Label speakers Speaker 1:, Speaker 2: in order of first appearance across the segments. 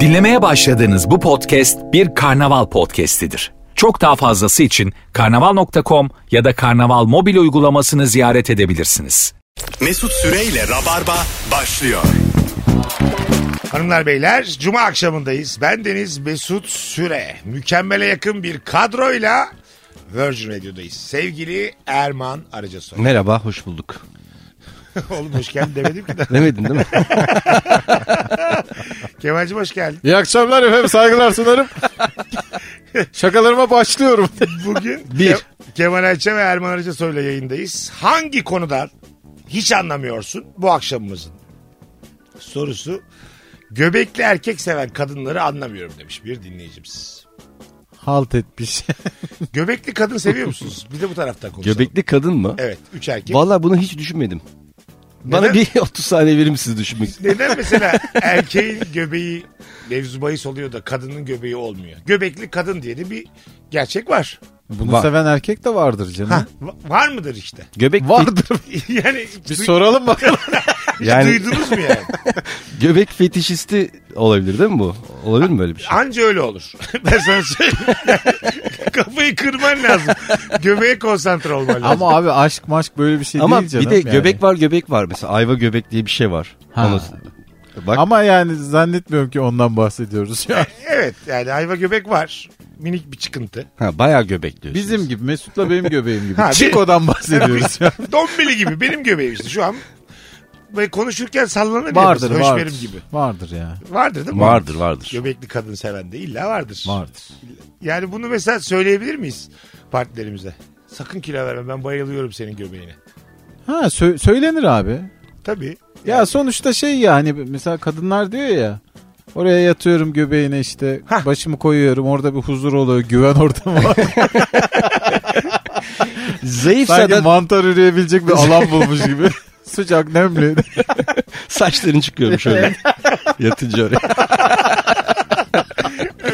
Speaker 1: Dinlemeye başladığınız bu podcast bir karnaval podcastidir. Çok daha fazlası için karnaval.com ya da karnaval mobil uygulamasını ziyaret edebilirsiniz.
Speaker 2: Mesut Süreyle Rabarba başlıyor.
Speaker 3: Hanımlar beyler cuma akşamındayız. Ben Deniz Mesut Süre. Mükemmele yakın bir kadroyla Virgin Radio'dayız. Sevgili Erman Arıcasoy.
Speaker 4: Merhaba, hoş bulduk.
Speaker 3: Oğlum hoş geldin demedim ki de.
Speaker 4: Demedin değil mi?
Speaker 3: Kemal'cim hoş geldin.
Speaker 5: İyi akşamlar efendim saygılar sunarım. Şakalarıma başlıyorum.
Speaker 3: Bugün
Speaker 4: Bir.
Speaker 3: Ke- Kemal Ayça ve Erman Arıcasoy'la yayındayız. Hangi konudan hiç anlamıyorsun bu akşamımızın? Sorusu göbekli erkek seven kadınları anlamıyorum demiş bir dinleyicimiz.
Speaker 5: Halt etmiş.
Speaker 3: Göbekli kadın seviyor musunuz? Bir de bu taraftan konuşalım.
Speaker 4: Göbekli kadın mı?
Speaker 3: Evet. Üç erkek.
Speaker 4: Vallahi bunu hiç düşünmedim. Bana
Speaker 3: Neden?
Speaker 4: bir 30 saniye verir misiniz düşünmek için?
Speaker 3: Neden mesela erkeğin göbeği mevzu bahis oluyor da kadının göbeği olmuyor? Göbekli kadın diye de bir gerçek var.
Speaker 5: Bunu
Speaker 4: Var.
Speaker 5: seven erkek de vardır canım.
Speaker 3: Va- var mıdır işte?
Speaker 4: Göbekli,
Speaker 5: Vardır. şey
Speaker 3: yani
Speaker 5: Bir
Speaker 3: du-
Speaker 5: soralım bakalım.
Speaker 3: hiç
Speaker 4: yani-
Speaker 3: duydunuz mu yani?
Speaker 4: göbek fetişisti olabilir değil mi bu? Olabilir mi böyle bir şey?
Speaker 3: Anca öyle olur. ben sana söyleyeyim. Kafayı kırman lazım. Göbeğe konsantre olman lazım.
Speaker 5: Ama abi aşk maşk böyle bir şey
Speaker 4: Ama
Speaker 5: değil canım.
Speaker 4: bir de
Speaker 5: yani.
Speaker 4: göbek var göbek var. Mesela ayva göbek diye bir şey var.
Speaker 5: Ha.
Speaker 4: Onu- Bak
Speaker 5: Ama yani zannetmiyorum ki ondan bahsediyoruz. ya.
Speaker 3: Evet yani hayva göbek var. Minik bir çıkıntı.
Speaker 4: ha, bayağı göbek diyorsun.
Speaker 5: Bizim gibi Mesut'la benim göbeğim gibi.
Speaker 3: Ha, bir-
Speaker 5: Çiko'dan bahsediyoruz. ya.
Speaker 3: Dombili gibi benim göbeğim işte şu an. Ve konuşurken sallanır
Speaker 5: vardır
Speaker 3: ya. biraz
Speaker 5: vardır.
Speaker 3: Höşmerim gibi.
Speaker 5: Vardır ya.
Speaker 3: Vardır değil mi?
Speaker 4: Vardır vardır.
Speaker 3: Göbekli kadın seven de illa vardır.
Speaker 5: Vardır.
Speaker 3: Yani bunu mesela söyleyebilir miyiz partilerimize? Sakın kilo verme ben bayılıyorum senin göbeğine.
Speaker 5: Ha sö- söylenir abi.
Speaker 3: Tabii.
Speaker 5: Ya sonuçta şey ya hani mesela kadınlar diyor ya oraya yatıyorum göbeğine işte
Speaker 3: Hah.
Speaker 5: başımı koyuyorum orada bir huzur oluyor güven ortamı var.
Speaker 4: Zayıfsa
Speaker 5: Sanki
Speaker 4: da
Speaker 5: mantar üreyebilecek bir alan bulmuş gibi. Sıcak nemli.
Speaker 4: saçların çıkıyorum şöyle. Yatınca oraya.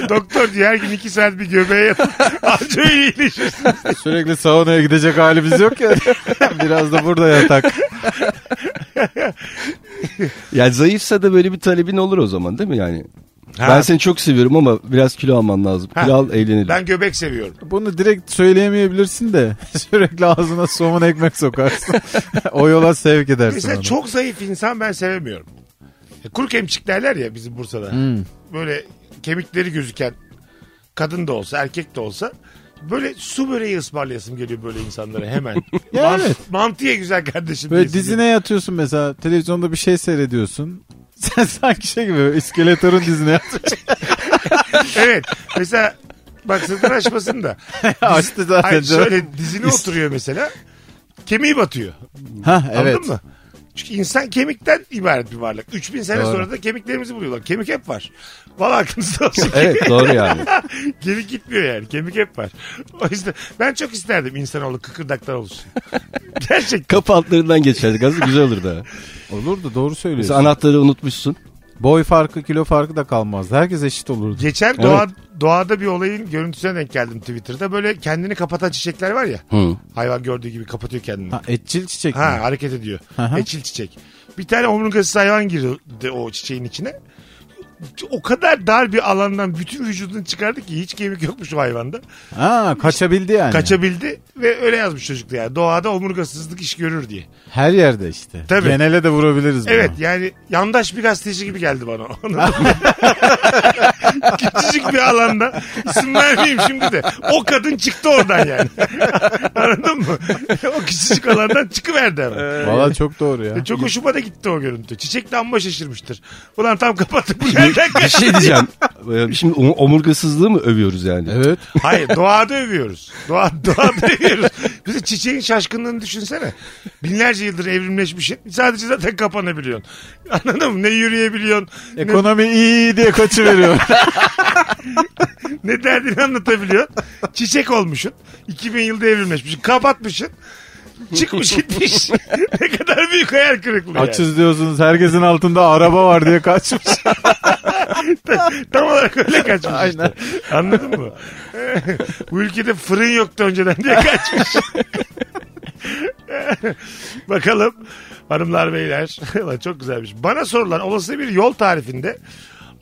Speaker 3: Doktor diyor her gün iki saat bir göbeğe yatın. Anca öyle iyileşirsin.
Speaker 5: Sürekli saunaya gidecek halimiz yok ya. Biraz da burada yatak.
Speaker 4: Yani zayıfsa da böyle bir talebin olur o zaman değil mi yani? Ben seni çok seviyorum ama biraz kilo alman lazım.
Speaker 3: Ha.
Speaker 4: Kilo al eğlenelim.
Speaker 3: Ben göbek seviyorum.
Speaker 5: Bunu direkt söyleyemeyebilirsin de sürekli ağzına somun ekmek sokarsın. o yola sevk edersin
Speaker 3: Mesela
Speaker 5: onu.
Speaker 3: çok zayıf insan ben sevemiyorum. E, Kuru kemçik derler ya bizim Bursa'da.
Speaker 5: Hmm.
Speaker 3: Böyle kemikleri gözüken kadın da olsa erkek de olsa böyle su böreği ısmarlayasım geliyor böyle insanlara hemen.
Speaker 5: Ya
Speaker 3: Mant-
Speaker 5: evet.
Speaker 3: Mantıya güzel kardeşim.
Speaker 5: Böyle
Speaker 3: diyesim
Speaker 5: dizine yatıyorsun mesela televizyonda bir şey seyrediyorsun. Sen sanki şey gibi iskeletorun dizine yatıyorsun.
Speaker 3: Evet. Mesela bak sırtını açmasın da.
Speaker 5: Açtı zaten.
Speaker 3: Hayır,
Speaker 5: canım.
Speaker 3: şöyle dizine oturuyor mesela. Kemiği batıyor.
Speaker 5: Hah,
Speaker 3: Anladın
Speaker 5: evet.
Speaker 3: mı? Çünkü insan kemikten ibaret bir varlık. 3000 sene
Speaker 5: Doğru.
Speaker 3: sonra da kemiklerimizi buluyorlar. Kemik hep var. Valla aklınızda olsun.
Speaker 4: Evet doğru yani.
Speaker 3: Kemik gitmiyor yani. Kemik hep var. O yüzden ben çok isterdim insanoğlu kıkırdaklar olsun. Gerçekten.
Speaker 4: Kapı altlarından geçerdik aslında güzel olurdu. ha.
Speaker 5: Olur da doğru söylüyorsun.
Speaker 4: Mesela anahtarı unutmuşsun.
Speaker 5: Boy farkı kilo farkı da kalmaz. Herkes eşit olurdu.
Speaker 3: Geçen doğa, doğada bir olayın görüntüsüne denk geldim Twitter'da. Böyle kendini kapatan çiçekler var ya.
Speaker 4: Hı.
Speaker 3: Hayvan gördüğü gibi kapatıyor kendini.
Speaker 5: Ha, etçil çiçek mi?
Speaker 3: Ha hareket ediyor.
Speaker 5: hı.
Speaker 3: Eçil çiçek. Bir tane omurgasız hayvan girdi o çiçeğin içine. O kadar dar bir alandan bütün vücudunu çıkardı ki hiç kemik yokmuş o hayvanda.
Speaker 5: Ha, kaçabildi yani.
Speaker 3: Kaçabildi ve öyle yazmış çocuk da yani. Doğada omurgasızlık iş görür diye.
Speaker 5: Her yerde işte.
Speaker 3: Tabii.
Speaker 5: Genele de vurabiliriz bunu.
Speaker 3: Evet yani yandaş bir gazeteci gibi geldi bana. Anladın mı? Küçücük bir alanda isim vermeyeyim şimdi de. O kadın çıktı oradan yani. Anladın mı? o küçücük alandan çıkıverdi hemen.
Speaker 5: Valla çok doğru ya.
Speaker 3: E, Çok hoşuma da gitti o görüntü. Çiçek de amma şaşırmıştır. Ulan tam kapattık bu yerden
Speaker 4: Bir şey diyeceğim. Ee, Şimdi om- omurgasızlığı mı övüyoruz yani?
Speaker 5: Evet.
Speaker 3: Hayır doğada övüyoruz. Doğa, doğada övüyoruz. Bize çiçeğin şaşkınlığını düşünsene. Binlerce yıldır evrimleşmişsin. Sadece zaten kapanabiliyorsun. Anladın mı? Ne yürüyebiliyorsun. ne,
Speaker 5: Ekonomi iyi diye kaçıveriyor.
Speaker 3: ne derdini anlatabiliyorsun. Çiçek olmuşsun. 2000 yılda evrimleşmişsin. Kapatmışsın. Çıkmış gitmiş. ne kadar büyük hayal kırıklığı. yani.
Speaker 5: Açız diyorsunuz herkesin altında araba var diye kaçmış.
Speaker 3: Tam olarak öyle kaçmış Aynen. işte. Anladın mı? Bu ülkede fırın yoktu önceden diye kaçmış. Bakalım Hanımlar beyler. Ulan çok güzelmiş. Bana sorulan olası bir yol tarifinde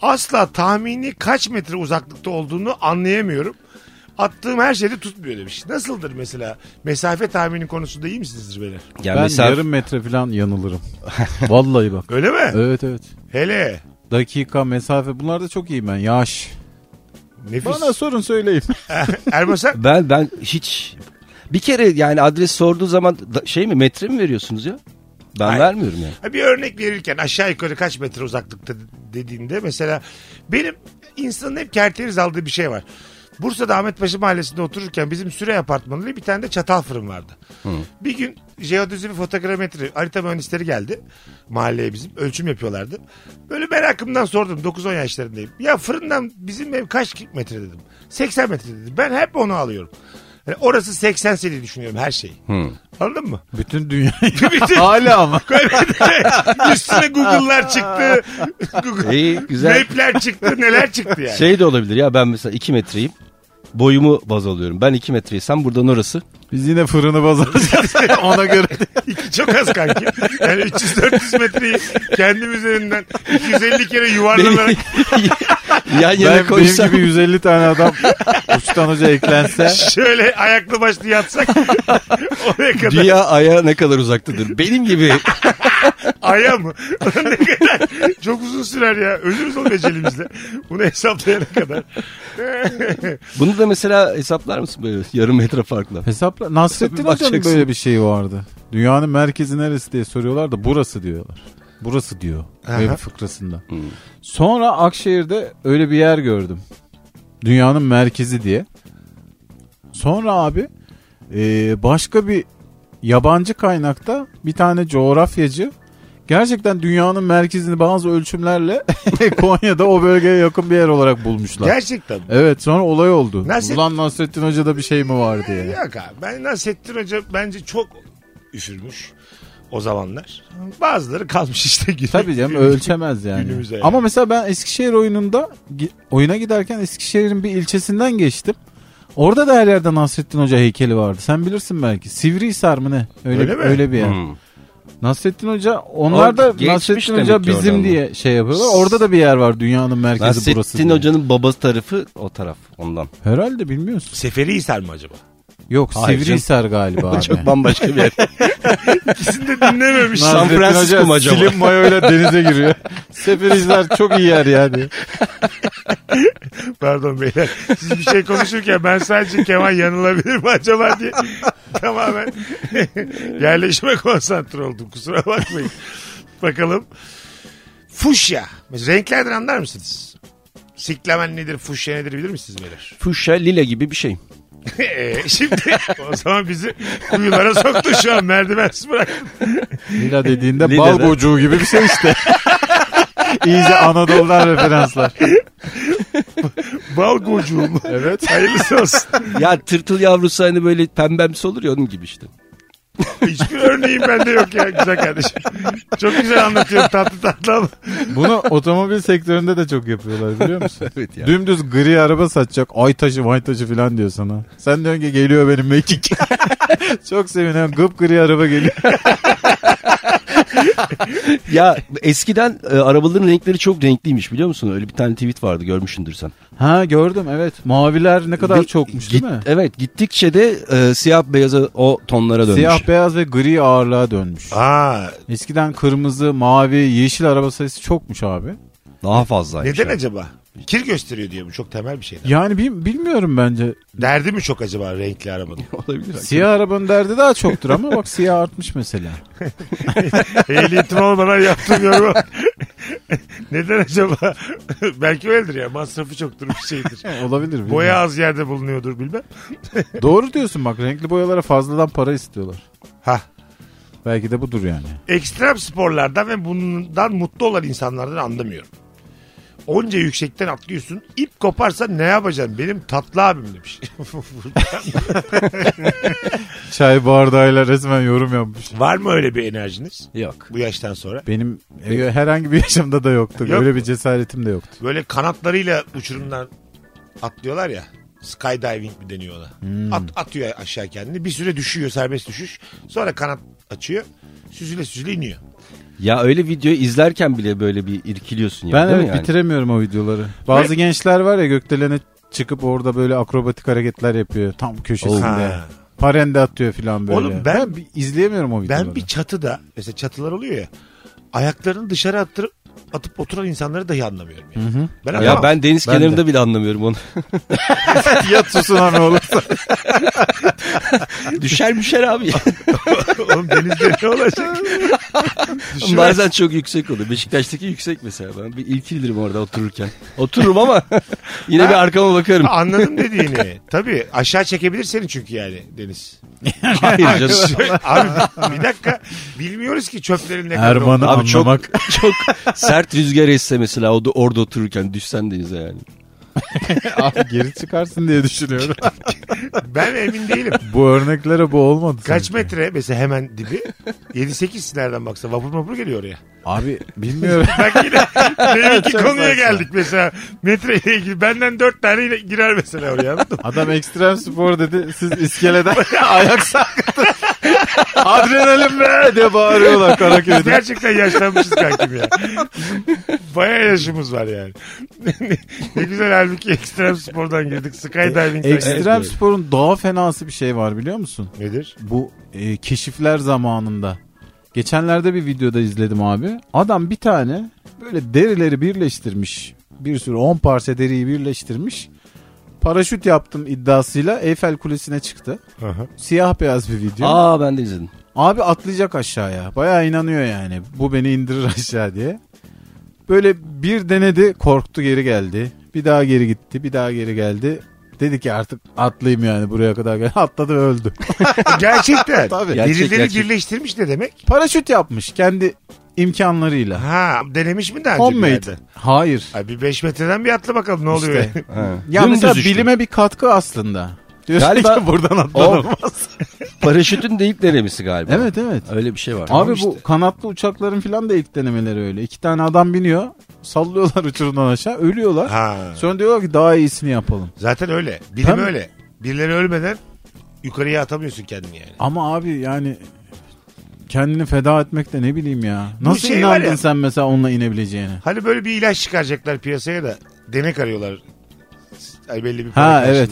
Speaker 3: asla tahmini kaç metre uzaklıkta olduğunu anlayamıyorum. Attığım her şeyde tutmuyor demiş. Nasıldır mesela? Mesafe tahmini konusunda iyi misinizdir beyler?
Speaker 4: Yani
Speaker 5: ben
Speaker 4: mesela
Speaker 5: yarım metre falan yanılırım. Vallahi bak.
Speaker 3: Öyle mi?
Speaker 5: Evet evet.
Speaker 3: Hele.
Speaker 5: Dakika, mesafe bunlar da çok iyi ben. Yaş.
Speaker 3: Nefis.
Speaker 5: Bana sorun söyleyeyim.
Speaker 3: Erman sen
Speaker 4: ben ben hiç bir kere yani adres sorduğu zaman da- şey mi metre mi veriyorsunuz ya? Ben
Speaker 3: Hayır.
Speaker 4: vermiyorum yani.
Speaker 3: Ha, Bir örnek verirken aşağı yukarı kaç metre uzaklıkta dediğinde mesela benim insanın hep kerteriz aldığı bir şey var. Bursa'da Ahmetpaşa Mahallesi'nde otururken bizim süre apartmanında bir tane de çatal fırın vardı. Bir gün jeodüzü bir fotogrametri harita mühendisleri geldi mahalleye bizim ölçüm yapıyorlardı. Böyle merakımdan sordum 9-10 yaşlarındayım. Ya fırından bizim ev kaç metre dedim. 80 metre dedi. Ben hep onu alıyorum. Yani orası 80 seni düşünüyorum her şeyi. Anladın mı?
Speaker 5: Bütün dünya.
Speaker 3: Bütün-
Speaker 5: Hala ama.
Speaker 3: Üstüne Google'lar çıktı. Google.
Speaker 4: İyi, güzel.
Speaker 3: Map'ler çıktı. Neler çıktı yani.
Speaker 4: Şey de olabilir ya ben mesela 2 metreyim. Boyumu baz alıyorum. Ben 2 metreysem buradan orası.
Speaker 5: Biz yine fırını baz alacağız. Ona göre.
Speaker 3: Çok az kanki. Yani 300-400 metreyi kendim üzerinden 250 kere yuvarlanarak
Speaker 4: Yan yana
Speaker 5: Ben, benim
Speaker 4: koysam.
Speaker 5: gibi 150 tane adam uçtan uca eklense.
Speaker 3: şöyle ayaklı başlı yatsak oraya kadar.
Speaker 4: Dünya aya ne kadar uzaktadır. Benim gibi
Speaker 3: Aya mı? Ulan ne kadar çok uzun sürer ya. Ölürüz o becerimizle. Bunu hesaplayana kadar.
Speaker 4: Bunu da mesela hesaplar mısın böyle yarım metre farkla?
Speaker 5: Hesapla Nasrettin Hoca'nın
Speaker 4: Bakacaksın.
Speaker 5: böyle bir şeyi vardı. Dünyanın merkezi neresi diye soruyorlar da burası diyorlar. Burası diyor. Web fıkrasında. Sonra Akşehir'de öyle bir yer gördüm. Dünyanın merkezi diye. Sonra abi e, başka bir yabancı kaynakta bir tane coğrafyacı gerçekten dünyanın merkezini bazı ölçümlerle Konya'da o bölgeye yakın bir yer olarak bulmuşlar.
Speaker 3: Gerçekten.
Speaker 5: Evet sonra olay oldu.
Speaker 3: Nasrettin-
Speaker 5: Ulan Nasrettin Hoca'da bir şey mi var diye.
Speaker 3: Yok abi. Ben Nasrettin Hoca bence çok üfürmüş o zamanlar. Bazıları kalmış işte. günü-
Speaker 5: Tabii canım
Speaker 3: günü-
Speaker 5: ölçemez yani.
Speaker 3: Günümüze yani.
Speaker 5: Ama mesela ben Eskişehir oyununda gi- oyuna giderken Eskişehir'in bir ilçesinden geçtim. Orada da her yerde Nasrettin Hoca heykeli vardı. Sen bilirsin belki. Sivrihisar mı ne? Öyle,
Speaker 3: Öyle mi?
Speaker 5: öyle bir yer.
Speaker 4: Hmm.
Speaker 5: Nasrettin Hoca onlar
Speaker 4: O
Speaker 5: da
Speaker 4: geçmiş
Speaker 5: Nasrettin
Speaker 4: demek
Speaker 5: Hoca
Speaker 4: ki
Speaker 5: bizim
Speaker 4: oradan da.
Speaker 5: diye şey yapıyorlar. Orada da bir yer var dünyanın merkezi burası.
Speaker 4: Nasrettin
Speaker 5: diye.
Speaker 4: Hoca'nın baba tarafı o taraf ondan.
Speaker 5: Herhalde bilmiyorsun.
Speaker 3: Seferihisar mı acaba?
Speaker 5: Yok
Speaker 4: Hayır
Speaker 5: Sivrihisar galiba abi.
Speaker 4: Çok bambaşka bir yer.
Speaker 3: İkisini de dinlememiş.
Speaker 4: San
Speaker 5: Nasrettin
Speaker 4: Francisco
Speaker 5: Hoca
Speaker 4: mu acaba?
Speaker 5: Slim mayoyla denize giriyor. Seferihisar çok iyi yer yani.
Speaker 3: Pardon beyler. Siz bir şey konuşurken ben sadece Kemal yanılabilir mi acaba diye tamamen yerleşime konsantre oldum. Kusura bakmayın. Bakalım. Fuşya. Mesela renklerden anlar mısınız? Siklemen nedir, fuşya nedir bilir misiniz beyler?
Speaker 4: Fuşya lila gibi bir şey.
Speaker 3: Ee, şimdi o zaman bizi kuyulara soktu şu an merdivensiz bıraktı.
Speaker 5: Lila dediğinde
Speaker 4: Lila
Speaker 5: bal
Speaker 4: da-
Speaker 5: bocuğu gibi bir şey işte. İyice Anadolu'dan referanslar.
Speaker 3: Bal gocuğu mu?
Speaker 5: Evet.
Speaker 3: Hayırlısı olsun.
Speaker 4: Ya tırtıl yavrusu hani böyle pembemsi olur ya onun gibi işte.
Speaker 3: Hiçbir örneğim bende yok ya güzel kardeşim. Çok güzel anlatıyorum tatlı tatlı ama.
Speaker 5: Bunu otomobil sektöründe de çok yapıyorlar biliyor musun?
Speaker 4: Evet ya.
Speaker 5: Dümdüz gri araba satacak. Ay taşı vay taşı falan diyor sana. Sen diyorsun ki geliyor benim mekik. çok seviniyorum. Gıp gri araba geliyor.
Speaker 4: Ya eskiden e, arabaların renkleri çok renkliymiş biliyor musun? Öyle bir tane tweet vardı görmüşsündür sen.
Speaker 5: Ha gördüm evet. Maviler ne kadar
Speaker 4: Ve
Speaker 5: çokmuş
Speaker 4: git-
Speaker 5: değil mi?
Speaker 4: Evet gittikçe de e, siyah beyaza o tonlara dönmüş.
Speaker 5: Siyah beyaz ve gri ağırlığa dönmüş.
Speaker 3: Aa,
Speaker 5: Eskiden kırmızı, mavi, yeşil araba sayısı çokmuş abi.
Speaker 4: Daha fazlaymış.
Speaker 3: Neden
Speaker 4: yani.
Speaker 3: acaba? Kir gösteriyor diye mi? Çok temel bir şey. şeyden.
Speaker 5: Yani bil- bilmiyorum bence.
Speaker 3: Derdi mi çok acaba renkli arabanın?
Speaker 4: Olabilir.
Speaker 5: Siyah arabanın derdi daha çoktur ama bak siyah artmış mesela.
Speaker 3: Ehliyetim olmadan yaptım yorumu. Neden acaba? Belki öyledir ya. Masrafı çoktur bir şeydir.
Speaker 5: Olabilir. bilmiyorum.
Speaker 3: Boya az yerde bulunuyordur bilmem.
Speaker 5: Doğru diyorsun bak renkli boyalara fazladan para istiyorlar.
Speaker 3: Ha.
Speaker 5: Belki de budur yani.
Speaker 3: Ekstrem sporlardan ve bundan mutlu olan insanlardan anlamıyorum. Onca yüksekten atlıyorsun. İp koparsa ne yapacaksın? Benim tatlı abim demiş.
Speaker 5: Çay bardağıyla resmen yorum yapmış.
Speaker 3: Var mı öyle bir enerjiniz
Speaker 4: Yok.
Speaker 3: bu yaştan sonra?
Speaker 5: Benim e, herhangi bir yaşamda da yoktu.
Speaker 3: Yok
Speaker 5: Öyle bir cesaretim de yoktu.
Speaker 3: Böyle kanatlarıyla uçurumdan atlıyorlar ya.
Speaker 4: Hmm.
Speaker 3: Skydiving mi deniyor ona? At, atıyor aşağı kendini. Bir süre düşüyor serbest düşüş. Sonra kanat açıyor. Süzüle süzüle iniyor.
Speaker 4: Ya öyle videoyu izlerken bile böyle bir irkiliyorsun ya.
Speaker 5: Ben
Speaker 4: değil mi
Speaker 5: evet
Speaker 4: yani?
Speaker 5: bitiremiyorum o videoları. Bazı gençler var ya gökdelene çıkıp orada böyle akrobatik hareketler yapıyor tam köşesinde.
Speaker 3: Ha.
Speaker 5: Parende atıyor falan böyle.
Speaker 3: Oğlum ben-
Speaker 5: bir- izleyemiyorum o videoları.
Speaker 3: Ben bir çatıda mesela çatılar oluyor ya ayaklarını dışarı attırıp atıp oturan insanları dahi anlamıyorum. Yani. Ben
Speaker 4: Ya
Speaker 3: anlamam.
Speaker 4: ben deniz
Speaker 5: Ben
Speaker 4: kenarında
Speaker 5: de.
Speaker 4: bile anlamıyorum onu.
Speaker 5: yat susun hani olursa.
Speaker 4: düşer düşer abi.
Speaker 3: Oğlum denizde ne olacak? Düşüver.
Speaker 4: Bazen çok yüksek oluyor. Beşiktaş'taki yüksek mesela. Ben bir ilkilirim orada otururken. Otururum ama yine bir arkama bakarım.
Speaker 3: Anladım dediğini. Tabii aşağı çekebilir seni çünkü yani Deniz.
Speaker 4: Hayır canım.
Speaker 3: Abi bir dakika bilmiyoruz ki çöplerin ne kadar
Speaker 5: Erman'ı
Speaker 3: olduğunu.
Speaker 4: Abi çok-
Speaker 5: anlamak.
Speaker 4: Çok sert rüzgar esse mesela o da orada otururken düşsen denize yani.
Speaker 5: Abi geri çıkarsın diye düşünüyorum.
Speaker 3: Ben emin değilim.
Speaker 5: bu örneklere bu olmadı.
Speaker 3: Kaç
Speaker 5: sanki.
Speaker 3: metre mesela hemen dibi? 7-8 nereden baksa vapur vapur geliyor oraya.
Speaker 5: Abi bilmiyorum.
Speaker 3: Bak yine deminki
Speaker 5: Çok
Speaker 3: konuya
Speaker 5: saçma.
Speaker 3: geldik mesela. Metreyle ilgili benden 4 tane yine girer mesela oraya anladın mı?
Speaker 5: Adam ekstrem spor dedi. Siz iskeleden ayak sarkıttı. Adrenalin be diye bağırıyorlar
Speaker 3: Biz
Speaker 5: Karaköy'de.
Speaker 3: gerçekten yaşlanmışız kankim ya. Baya yaşımız var yani. ne güzel halbuki ekstrem spordan girdik. Skydiving'den girdik.
Speaker 5: E, Ekstrem sporun daha fenası bir şey var biliyor musun?
Speaker 3: Nedir?
Speaker 5: Bu e, keşifler zamanında. Geçenlerde bir videoda izledim abi. Adam bir tane böyle derileri birleştirmiş. Bir sürü 10 parça deriyi birleştirmiş. Paraşüt yaptım iddiasıyla Eyfel Kulesi'ne çıktı.
Speaker 3: Aha.
Speaker 5: Siyah beyaz bir video.
Speaker 4: Aa ben de izledim.
Speaker 5: Abi atlayacak aşağıya. Bayağı inanıyor yani. Bu beni indirir aşağı diye. Böyle bir denedi korktu geri geldi. Bir daha geri gitti bir daha geri geldi. Dedi ki artık atlayayım yani buraya kadar gel. Atladı ve öldü.
Speaker 3: E, Gerçekten.
Speaker 5: Tabii.
Speaker 4: Gerçek,
Speaker 3: Birileri
Speaker 4: gerçek.
Speaker 3: birleştirmiş ne demek?
Speaker 5: Paraşüt yapmış kendi imkanlarıyla.
Speaker 3: Ha denemiş mi daha önce bir
Speaker 5: Homemade.
Speaker 3: yerde?
Speaker 5: Hayır.
Speaker 3: Ay bir 5 metreden bir atla bakalım ne oluyor.
Speaker 5: İşte.
Speaker 4: Ha.
Speaker 5: Ya mesela
Speaker 4: Dümdüz işte.
Speaker 5: bilime bir katkı aslında. Diyorsun
Speaker 4: Galiba-
Speaker 5: ki buradan
Speaker 4: O-
Speaker 5: atlanılmaz.
Speaker 4: Paraşütün de ilk denemesi galiba.
Speaker 5: Evet evet.
Speaker 4: Öyle bir şey var.
Speaker 5: Abi bu kanatlı uçakların filan da ilk denemeleri öyle. İki tane adam biniyor, sallıyorlar uçurumdan aşağı, ölüyorlar.
Speaker 3: Ha.
Speaker 5: Sonra diyorlar ki daha iyisini yapalım.
Speaker 3: Zaten öyle. Bilim
Speaker 5: Tabii.
Speaker 3: öyle. Birileri ölmeden yukarıya atamıyorsun kendini yani.
Speaker 5: Ama abi yani kendini feda etmek de ne bileyim ya.
Speaker 3: Bu
Speaker 5: Nasıl
Speaker 3: şey var
Speaker 5: inandın
Speaker 3: ya-
Speaker 5: sen mesela onunla inebileceğine?
Speaker 3: Hani böyle bir ilaç çıkaracaklar piyasaya da denek arıyorlar. Ay belli bir para
Speaker 5: Ha
Speaker 3: karşılığı.
Speaker 5: evet.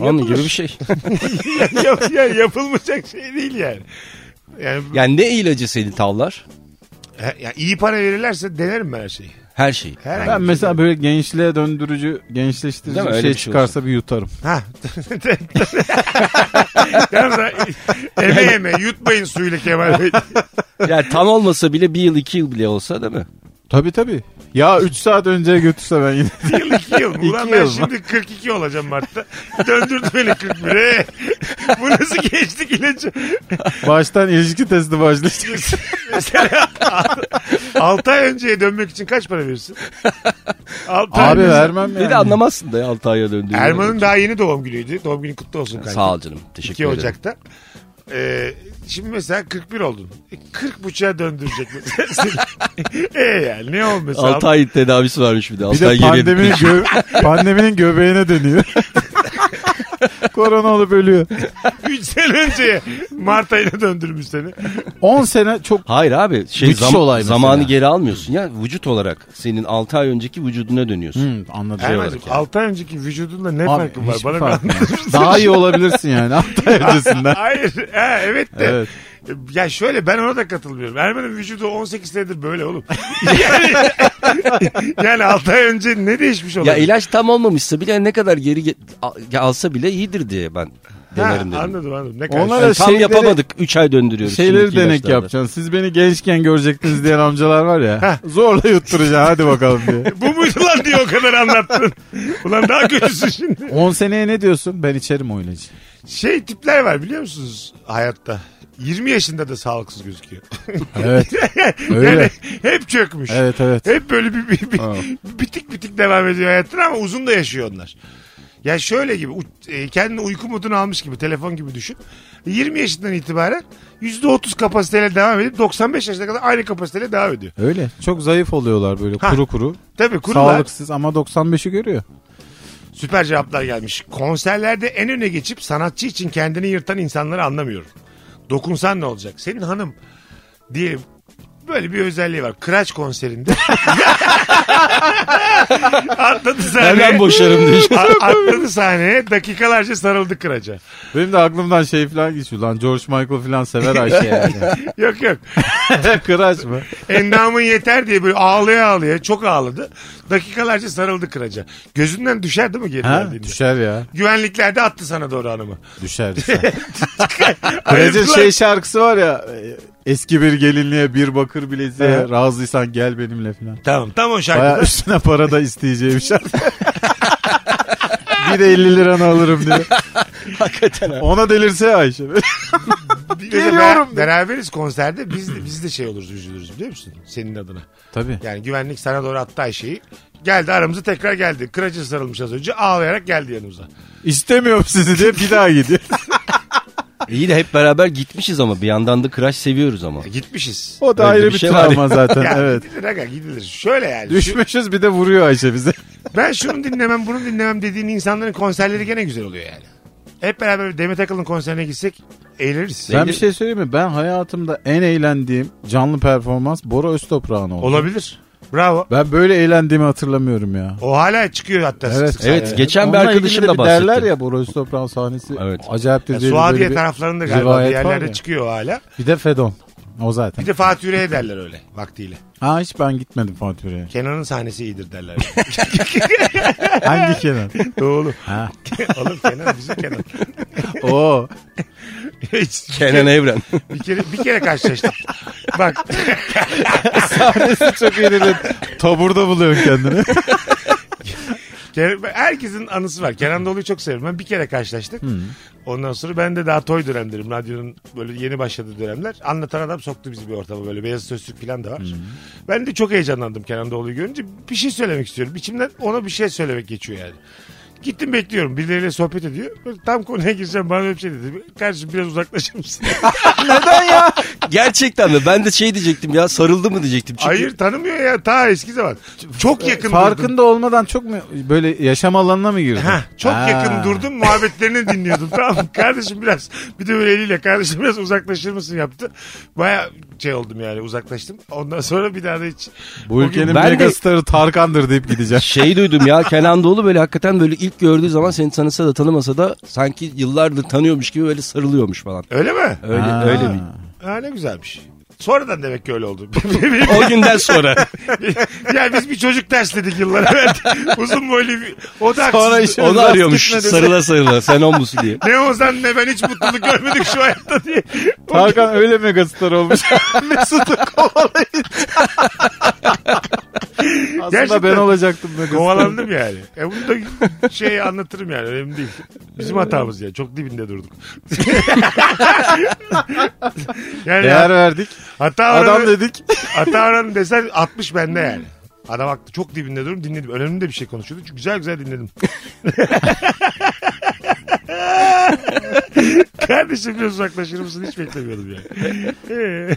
Speaker 4: Onun gibi bir şey.
Speaker 3: Yap- ya yapılmayacak şey değil yani. Yani
Speaker 4: Yani ne ilacı seni tavlar?
Speaker 3: he- ya iyi para verirlerse denerim ben her şeyi.
Speaker 4: Her şey. şeyi.
Speaker 3: Her
Speaker 5: Ben mesela böyle gençliğe döndürücü, gençleştirici
Speaker 4: Değil mi?
Speaker 5: bir
Speaker 4: Öyle
Speaker 5: şey
Speaker 4: bir şey
Speaker 5: çıkarsa bir yutarım.
Speaker 3: Ha. Yalnız ha, eme eme yutmayın suyla Kemal Bey.
Speaker 4: Yani tam olmasa bile bir yıl iki yıl bile olsa değil mi?
Speaker 5: Tabii tabii. Ya 3 saat önce götürse ben yine.
Speaker 3: Bir yıl iki yıl. Ulan
Speaker 5: İki
Speaker 3: ben
Speaker 5: yıl mı?
Speaker 3: şimdi 42 olacağım Mart'ta. Döndürdü beni 41'e. Bu nasıl geçtik ilacı?
Speaker 5: Baştan ilişki testi başlayacak.
Speaker 3: Mesela 6 ay önceye dönmek için kaç para verirsin? 6 ay
Speaker 5: Abi
Speaker 3: öncesi-
Speaker 5: vermem
Speaker 4: Bir
Speaker 5: yani.
Speaker 4: de anlamazsın da ya 6 aya döndüğünü.
Speaker 3: Erman'ın daha yeni doğum günüydü. Doğum günü kutlu olsun kanka.
Speaker 4: Sağ ol canım. Teşekkür
Speaker 3: 2
Speaker 4: ederim.
Speaker 3: Ocak'ta. Ee, şimdi mesela 41 oldun. E, 40 buçuğa döndürecek mesela seni. e yani ne oldu mesela?
Speaker 4: 6 ay tedavisi varmış bir şey. de.
Speaker 5: Bir
Speaker 4: altı
Speaker 5: de
Speaker 4: ay geri-
Speaker 5: pandeminin, gö- pandeminin göbeğine dönüyor. Korona olup ölüyor.
Speaker 3: 3 sene önceye Mart ayına döndürmüş seni.
Speaker 5: 10 sene çok
Speaker 4: Hayır abi şey
Speaker 5: Müthiş
Speaker 4: zam-
Speaker 5: olay mesela.
Speaker 4: zamanı geri almıyorsun ya vücut olarak senin 6 ay önceki vücuduna dönüyorsun.
Speaker 5: Hmm, anladım.
Speaker 3: Erman'cığım 6 ay önceki vücudunda ne
Speaker 5: Abi,
Speaker 3: farkı var?
Speaker 5: hiçbir
Speaker 3: Bana
Speaker 5: farkı
Speaker 3: bir
Speaker 5: yok.
Speaker 3: anlat.
Speaker 5: Daha iyi olabilirsin yani 6 ay öncesinden.
Speaker 3: Hayır. Ha, evet de.
Speaker 5: Evet.
Speaker 3: Ya şöyle ben ona da katılmıyorum. Erman'ın vücudu 18 senedir böyle oğlum. yani, yani 6 ay önce ne değişmiş
Speaker 4: Ya
Speaker 3: olabilir?
Speaker 4: ilaç tam olmamışsa bile ne kadar geri ge- al- alsa bile iyidir diye ben
Speaker 3: Ha,
Speaker 4: denerim dedim.
Speaker 3: anladım anladım. Ne
Speaker 5: Onlar
Speaker 3: karşı-
Speaker 4: Yani tam
Speaker 5: Şeyleri-
Speaker 4: yapamadık 3 ay döndürüyoruz.
Speaker 5: Şeyleri
Speaker 4: şimdiki
Speaker 5: denek
Speaker 4: ilaçlarla.
Speaker 5: yapacaksın. Siz beni gençken görecektiniz diyen amcalar var ya. zorla yutturacaksın hadi bakalım diye.
Speaker 3: Bu muydu lan diye o kadar anlattın. Ulan daha kötüsü şimdi.
Speaker 5: 10 seneye ne diyorsun? Ben içerim o ilacı.
Speaker 3: Şey tipler var biliyor musunuz hayatta? 20 yaşında da sağlıksız gözüküyor.
Speaker 5: Evet.
Speaker 3: yani
Speaker 5: Öyle.
Speaker 3: hep çökmüş.
Speaker 5: Evet evet.
Speaker 3: Hep böyle bir, bir, bir, bitik bitik devam ediyor hayatına ama uzun da yaşıyor onlar. Ya şöyle gibi u- e, kendini uyku modunu almış gibi telefon gibi düşün. 20 yaşından itibaren %30 kapasiteyle devam edip 95 yaşına kadar aynı kapasiteyle devam ediyor.
Speaker 5: Öyle. Çok zayıf oluyorlar böyle
Speaker 3: Ha.
Speaker 5: kuru kuru.
Speaker 3: Tabii kurular
Speaker 5: Sağlıksız ama 95'i görüyor.
Speaker 3: süper cevaplar gelmiş. Konserlerde en öne geçip sanatçı için kendini yırtan insanları anlamıyorum. Dokunsan ne olacak? Senin hanım diyelim böyle bir özelliği var. Kıraç konserinde. atladı sahneye.
Speaker 4: Hemen boşarım diye.
Speaker 3: A- atladı sahneye dakikalarca sarıldı kıraca.
Speaker 5: Benim de aklımdan şey falan geçiyor. Lan George Michael falan sever Ayşe yani.
Speaker 3: Yok yok.
Speaker 5: Kıraç mı?
Speaker 3: Endamın yeter diye böyle ağlaya ağlaya çok ağladı. Dakikalarca sarıldı kıraca. Gözünden düşer değil mi geri
Speaker 5: Ha?
Speaker 3: geldiğinde?
Speaker 5: Düşer ya.
Speaker 3: Güvenlikler de attı sana doğru hanımı.
Speaker 5: Düşer düşer. Kıracın
Speaker 3: Ayrıldılar.
Speaker 5: şey şarkısı var ya. e, Eski bir gelinliğe bir bakır bileziğe
Speaker 3: Evet.
Speaker 5: razıysan gel benimle falan.
Speaker 3: Tamam tam o şarkıda.
Speaker 5: Baya üstüne para da isteyeceği bir şarkı. bir de 50 liranı alırım diyor.
Speaker 4: Hakikaten abi.
Speaker 5: Ona delirse Ayşe.
Speaker 3: Mesela
Speaker 5: Geliyorum.
Speaker 3: ber- beraberiz konserde biz de, biz de şey oluruz üzülürüz biliyor musun? Senin adına.
Speaker 5: Tabii.
Speaker 3: Yani güvenlik sana doğru attı Ayşe'yi. Geldi aramıza tekrar geldi. Kıracı sarılmış az önce ağlayarak geldi yanımıza.
Speaker 5: İstemiyorum sizi diye bir daha gidiyor.
Speaker 4: İyi de hep beraber gitmişiz ama bir yandan da Crash seviyoruz ama.
Speaker 3: Ya E, gitmişiz.
Speaker 5: O da
Speaker 4: Öyle
Speaker 5: ayrı
Speaker 4: bir
Speaker 5: bir,
Speaker 4: şey var
Speaker 5: travma zaten.
Speaker 3: Ya
Speaker 5: evet.
Speaker 3: gidilir aga gidilir. Şöyle yani. şu-
Speaker 5: Düşmüşüz bir de vuruyor Ayşe bize.
Speaker 3: ben şunu dinlemem bunu dinlemem dediğin insanların konserleri gene güzel oluyor yani. Hep beraber Demet Akalın konserine gitsek eğleniriz.
Speaker 5: Ben bir şey söyleyeyim mi? Ben hayatımda en eğlendiğim canlı performans Bora Öztoprağ'ın oldu.
Speaker 3: Olabilir. Bravo.
Speaker 5: Ben böyle eğlendiğimi hatırlamıyorum ya.
Speaker 3: O hala çıkıyor hatta. sık sık.
Speaker 4: evet. geçen bir
Speaker 5: Onunla ilgili
Speaker 4: arkadaşım
Speaker 5: de
Speaker 4: da
Speaker 5: bir
Speaker 4: bahsetti.
Speaker 5: Derler ya Bora Öztoprak'ın sahnesi
Speaker 4: Evet.
Speaker 5: acayiptir
Speaker 3: Yani
Speaker 5: diye.
Speaker 3: E, Suadiye
Speaker 5: böyle bir-
Speaker 3: taraflarında galiba bir
Speaker 5: rivayet var
Speaker 3: yerlerde
Speaker 5: ya.
Speaker 3: çıkıyor hala.
Speaker 5: Bir de Fedon. O zaten.
Speaker 3: Bir de Fatih Yüreğe derler öyle vaktiyle.
Speaker 5: Ha hiç ben gitmedim Fatih Bey'e.
Speaker 3: Kenan'ın sahnesi iyidir derler.
Speaker 5: Hangi Kenan?
Speaker 3: Doğru.
Speaker 5: Ha.
Speaker 3: Oğlum Kenan bizim Kenan.
Speaker 5: Oo.
Speaker 3: Hiç-
Speaker 4: Kenan Evren.
Speaker 3: bir kere bir kere karşılaştık. Bak
Speaker 5: Sahnesi çok iyi dedi. Taburda buluyorsun kendini.
Speaker 3: Kenan- herkesin anısı var. Kenan Doğulu'yu çok severim. Ben bir kere karşılaştık. Ondan sonra ben de daha toy dönemlerim. Radyonun böyle yeni başladığı dönemler. Anlatan adam soktu bizi bir ortama böyle. Beyaz Öztürk falan da var. Ben de çok heyecanlandım Kenan Doğulu'yu görünce. Bir şey söylemek istiyorum. İçimden ona bir şey söylemek geçiyor yani. Gittim bekliyorum. Birileriyle sohbet ediyor. Böyle tam konuya gireceğim bana öyle bir şey dedi. Kardeşim biraz uzaklaşır mısın?
Speaker 4: Neden ya? Gerçekten de ben de şey diyecektim ya sarıldı mı diyecektim. Çünkü
Speaker 3: Hayır tanımıyor ya. Ta eski zaman. Çok yakın durdum.
Speaker 5: Farkında olmadan çok mu böyle yaşam alanına mı girdin?
Speaker 3: Heh, çok
Speaker 5: Ha.
Speaker 3: yakın durdum muhabbetlerini dinliyordum tamam mı? Kardeşim biraz bir de böyle eliyle kardeşim biraz uzaklaşır mısın yaptı. Baya şey oldum yani uzaklaştım. Ondan sonra bir daha da hiç.
Speaker 5: Bu ülkenin
Speaker 4: Ben de-
Speaker 5: megastarı Tarkan'dır deyip gideceğim.
Speaker 4: Şey duydum ya Kenan Doğulu böyle hakikaten böyle ilk gördüğü zaman seni tanısa da tanımasa da sanki yıllardır tanıyormuş gibi böyle sarılıyormuş falan.
Speaker 3: Öyle mi?
Speaker 4: Öyle
Speaker 5: Ha.
Speaker 4: öyle bir.
Speaker 3: Ha, ne güzelmiş. Sonradan demek ki öyle oldu. Benim-
Speaker 4: O günden sonra.
Speaker 3: yani biz bir çocuk ders dedik yıllar evvel. Uzun boylu bir... O da
Speaker 5: Sonra
Speaker 3: haksızdı.
Speaker 5: işte-
Speaker 4: Onu
Speaker 5: Rast
Speaker 4: arıyormuş
Speaker 5: gitmedi.
Speaker 4: sarıla sarıla sen o musun diye.
Speaker 3: Ne Ozan ne ben hiç mutluluk görmedik şu hayatta diye. O-
Speaker 5: Tarkan öyle megastar olmuş. Mesut'u kovalayın. Aslında
Speaker 3: Gerçekten.
Speaker 5: ben olacaktım megastar.
Speaker 3: Kovalandım yani. E bunu da şey anlatırım yani önemli değil. Bizim hatamız ya. Çok dibinde durduk. yani
Speaker 5: Değer verdik.
Speaker 3: hata oranı,
Speaker 5: Adam dedik.
Speaker 3: hata oranı desen 60 bende yani. Adam haklı. Çok dibinde durum dinledim. Önemli de bir şey konuşuyordu. Çünkü güzel güzel dinledim. Kardeşim biraz uzaklaşır mısın? Hiç beklemiyordum yani.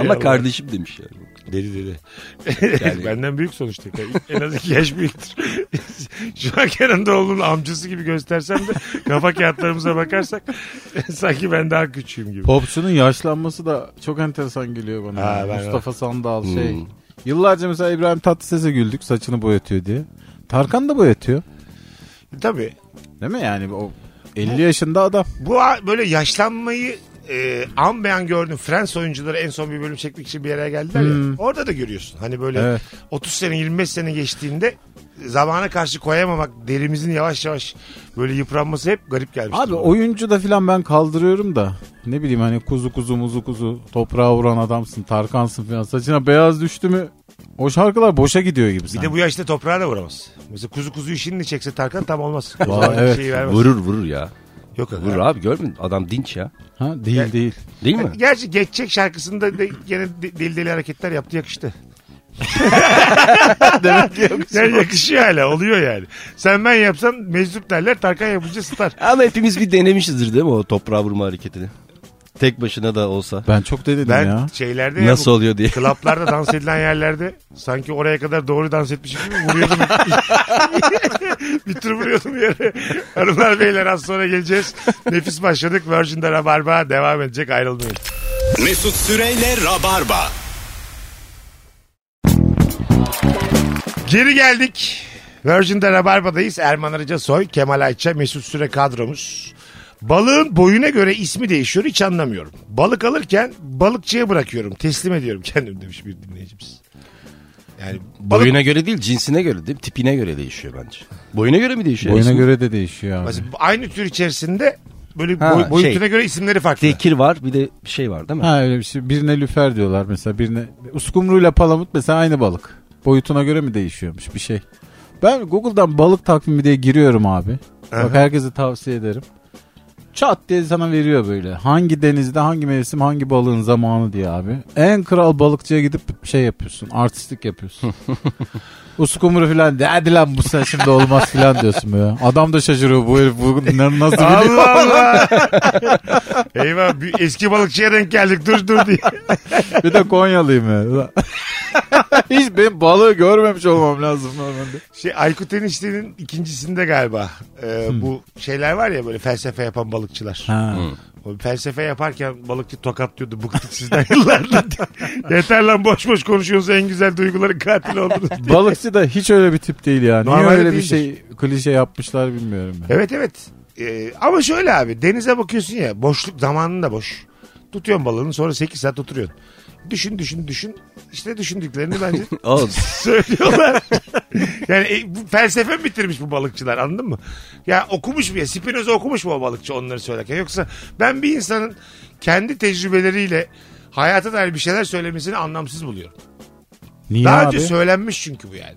Speaker 4: Ama kardeşim demiş yani.
Speaker 3: Deli deli. Benden büyük sonuçta. En az iki yaş büyüktür. Şu an Kenan Doğulu'nun amcası gibi göstersem de kafa kağıtlarımıza bakarsak sanki ben daha küçüğüm gibi.
Speaker 5: Popçunun yaşlanması da çok enteresan geliyor bana.
Speaker 3: Ha, ben-
Speaker 5: Mustafa Sandal şey.
Speaker 4: Hmm.
Speaker 5: Yıllarca mesela İbrahim Tatlıses'e güldük saçını boyatıyor diye. Tarkan da boyatıyor.
Speaker 3: Tabii.
Speaker 5: Değil mi yani o 50 yaşında adam.
Speaker 3: Bu a- böyle yaşlanmayı e, an be an gördüm. Friends oyuncuları en son bir bölüm çekmek için bir yere geldiler ya. Orada da görüyorsun. Hani böyle
Speaker 5: Evet.
Speaker 3: 30 sene 25 sene geçtiğinde zamana karşı koyamamak derimizin yavaş yavaş böyle yıpranması hep garip gelmişti.
Speaker 5: Abi
Speaker 3: bana.
Speaker 5: oyuncu da filan ben kaldırıyorum da. Ne bileyim hani kuzu kuzu muzu kuzu toprağa vuran adamsın Tarkan'sın filan. Saçına beyaz düştü mü o şarkılar boşa gidiyor gibi
Speaker 3: Bir
Speaker 5: sanki.
Speaker 3: de bu yaşta toprağa da vuramaz. Mesela kuzu kuzuyu şimdi çekse Tarkan tam olmaz. O
Speaker 5: Vay,
Speaker 3: zaman
Speaker 5: evet.
Speaker 3: şeyi vermez.
Speaker 4: Vurur vurur ya.
Speaker 3: Yok abi.
Speaker 4: Vurur abi görmedin adam dinç ya.
Speaker 5: Ha, değil
Speaker 3: Ya-
Speaker 5: değil.
Speaker 4: Değil mi?
Speaker 3: Gerçi geçecek şarkısında de gene de- deli deli hareketler yaptı yakıştı. yani yakışıyor hala oluyor yani. Sen ben yapsam meczup derler Tarkan yapınca star.
Speaker 4: Ama hepimiz bir denemişizdir değil mi o toprağa vurma hareketini? Tek başına da olsa.
Speaker 5: Ben çok dedim
Speaker 3: Ben
Speaker 5: ya.
Speaker 3: şeylerde ya
Speaker 4: Nasıl
Speaker 3: bu
Speaker 4: oluyor diye.
Speaker 3: klaplarda dans edilen yerlerde sanki oraya kadar doğru dans etmişim gibi vuruyordum. bir tur vuruyordum yere. Hanımlar beyler az sonra geleceğiz. Nefis başladık. Virgin'de Rabarba devam edecek ayrılmayın.
Speaker 2: Mesut Süreyle Rabarba.
Speaker 3: Geri geldik. Virgin'de Rabarba'dayız. Erman Arıca Soy, Kemal Ayça, Mesut Süre kadromuz. Balığın boyuna göre ismi değişiyor hiç anlamıyorum. Balık alırken balıkçıya bırakıyorum. Teslim ediyorum kendim demiş bir dinleyicimiz. Yani balık
Speaker 4: Boyuna göre değil cinsine göre değil tipine göre değişiyor bence. Boyuna göre mi değişiyor?
Speaker 5: Boyuna
Speaker 4: İsim?
Speaker 5: göre de değişiyor abi.
Speaker 3: Mesela aynı tür içerisinde böyle
Speaker 4: Ha,
Speaker 3: boy- boyutuna
Speaker 4: şey.
Speaker 3: göre isimleri farklı.
Speaker 4: Tekir var bir de bir şey var değil mi?
Speaker 5: Ha öyle bir şey. Birine lüfer diyorlar mesela. Birine uskumruyla palamut mesela aynı balık. Boyutuna göre mi değişiyormuş bir şey. Ben Google'dan balık takvimi diye giriyorum abi. Bak herkese tavsiye ederim. Çat diye sana veriyor böyle. Hangi denizde hangi mevsim hangi balığın zamanı diye abi. En kral balıkçıya gidip şey yapıyorsun. Artistlik yapıyorsun. Uskumru falan de hadi lan bu sen şimdi olmaz falan diyorsun böyle. Adam da şaşırıyor bu herif bu nasıl biliyor.
Speaker 3: Allah Allah. Eyvah bir eski balıkçıya denk geldik dur dur diye.
Speaker 5: Bir de Konyalıyım ya. Hiç benim balığı görmemiş olmam lazım normalde.
Speaker 3: Şey, Aykut Enişte'nin ikincisinde galiba e,
Speaker 4: Hmm.
Speaker 3: bu şeyler var ya böyle felsefe yapan balıkçılar.
Speaker 5: Ha.
Speaker 3: O felsefe yaparken balıkçı tokatlıyordu bıktık sizden yıllardır. Yeter lan boş boş konuşuyorsunuz en güzel duyguların katili oldunuz.
Speaker 5: Balıkçı da hiç öyle bir tip değil yani. Niye
Speaker 3: Normalde
Speaker 5: öyle bir
Speaker 3: değildir.
Speaker 5: şey klişe yapmışlar bilmiyorum ben.
Speaker 3: Evet evet. Ee, ama şöyle abi denize bakıyorsun ya boşluk zamanın da boş. Tutuyorsun balığını sonra 8 saat oturuyorsun. Düşün düşün düşün. İşte düşündüklerini bence
Speaker 4: Oğlum,
Speaker 3: söylüyorlar. yani e, bu felsefe mi bitirmiş bu balıkçılar anladın mı? Ya okumuş mu ya Spinoza okumuş mu o balıkçı onları söylerken? Yoksa ben bir insanın kendi tecrübeleriyle hayata dair bir şeyler söylemesini anlamsız buluyorum.
Speaker 5: Niye
Speaker 3: Daha
Speaker 5: abi?
Speaker 3: önce söylenmiş çünkü bu yani.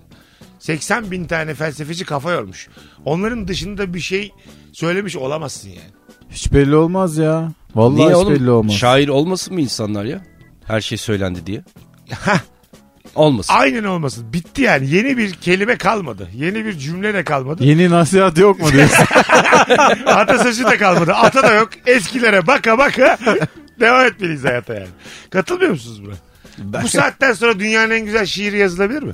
Speaker 3: 80 bin tane felsefeci kafa yormuş. Onların dışında bir şey söylemiş olamazsın yani.
Speaker 5: Hiç belli olmaz ya. Vallahi
Speaker 4: niye
Speaker 5: hiç
Speaker 4: oğlum?
Speaker 5: belli olmaz.
Speaker 4: Şair olmasın mı insanlar ya? Her şey söylendi diye.
Speaker 3: Hah.
Speaker 4: Olmasın.
Speaker 3: Aynen olmasın. Bitti yani. Yeni bir kelime kalmadı. Yeni bir cümle de kalmadı.
Speaker 5: Yeni nasihat yok mu diyorsun?
Speaker 3: Atasözü de kalmadı. Ata da yok. Eskilere baka baka devam etmeliyiz hayata yani. Katılmıyor musunuz buna? Bu saatten sonra dünyanın en güzel şiiri yazılabilir mi?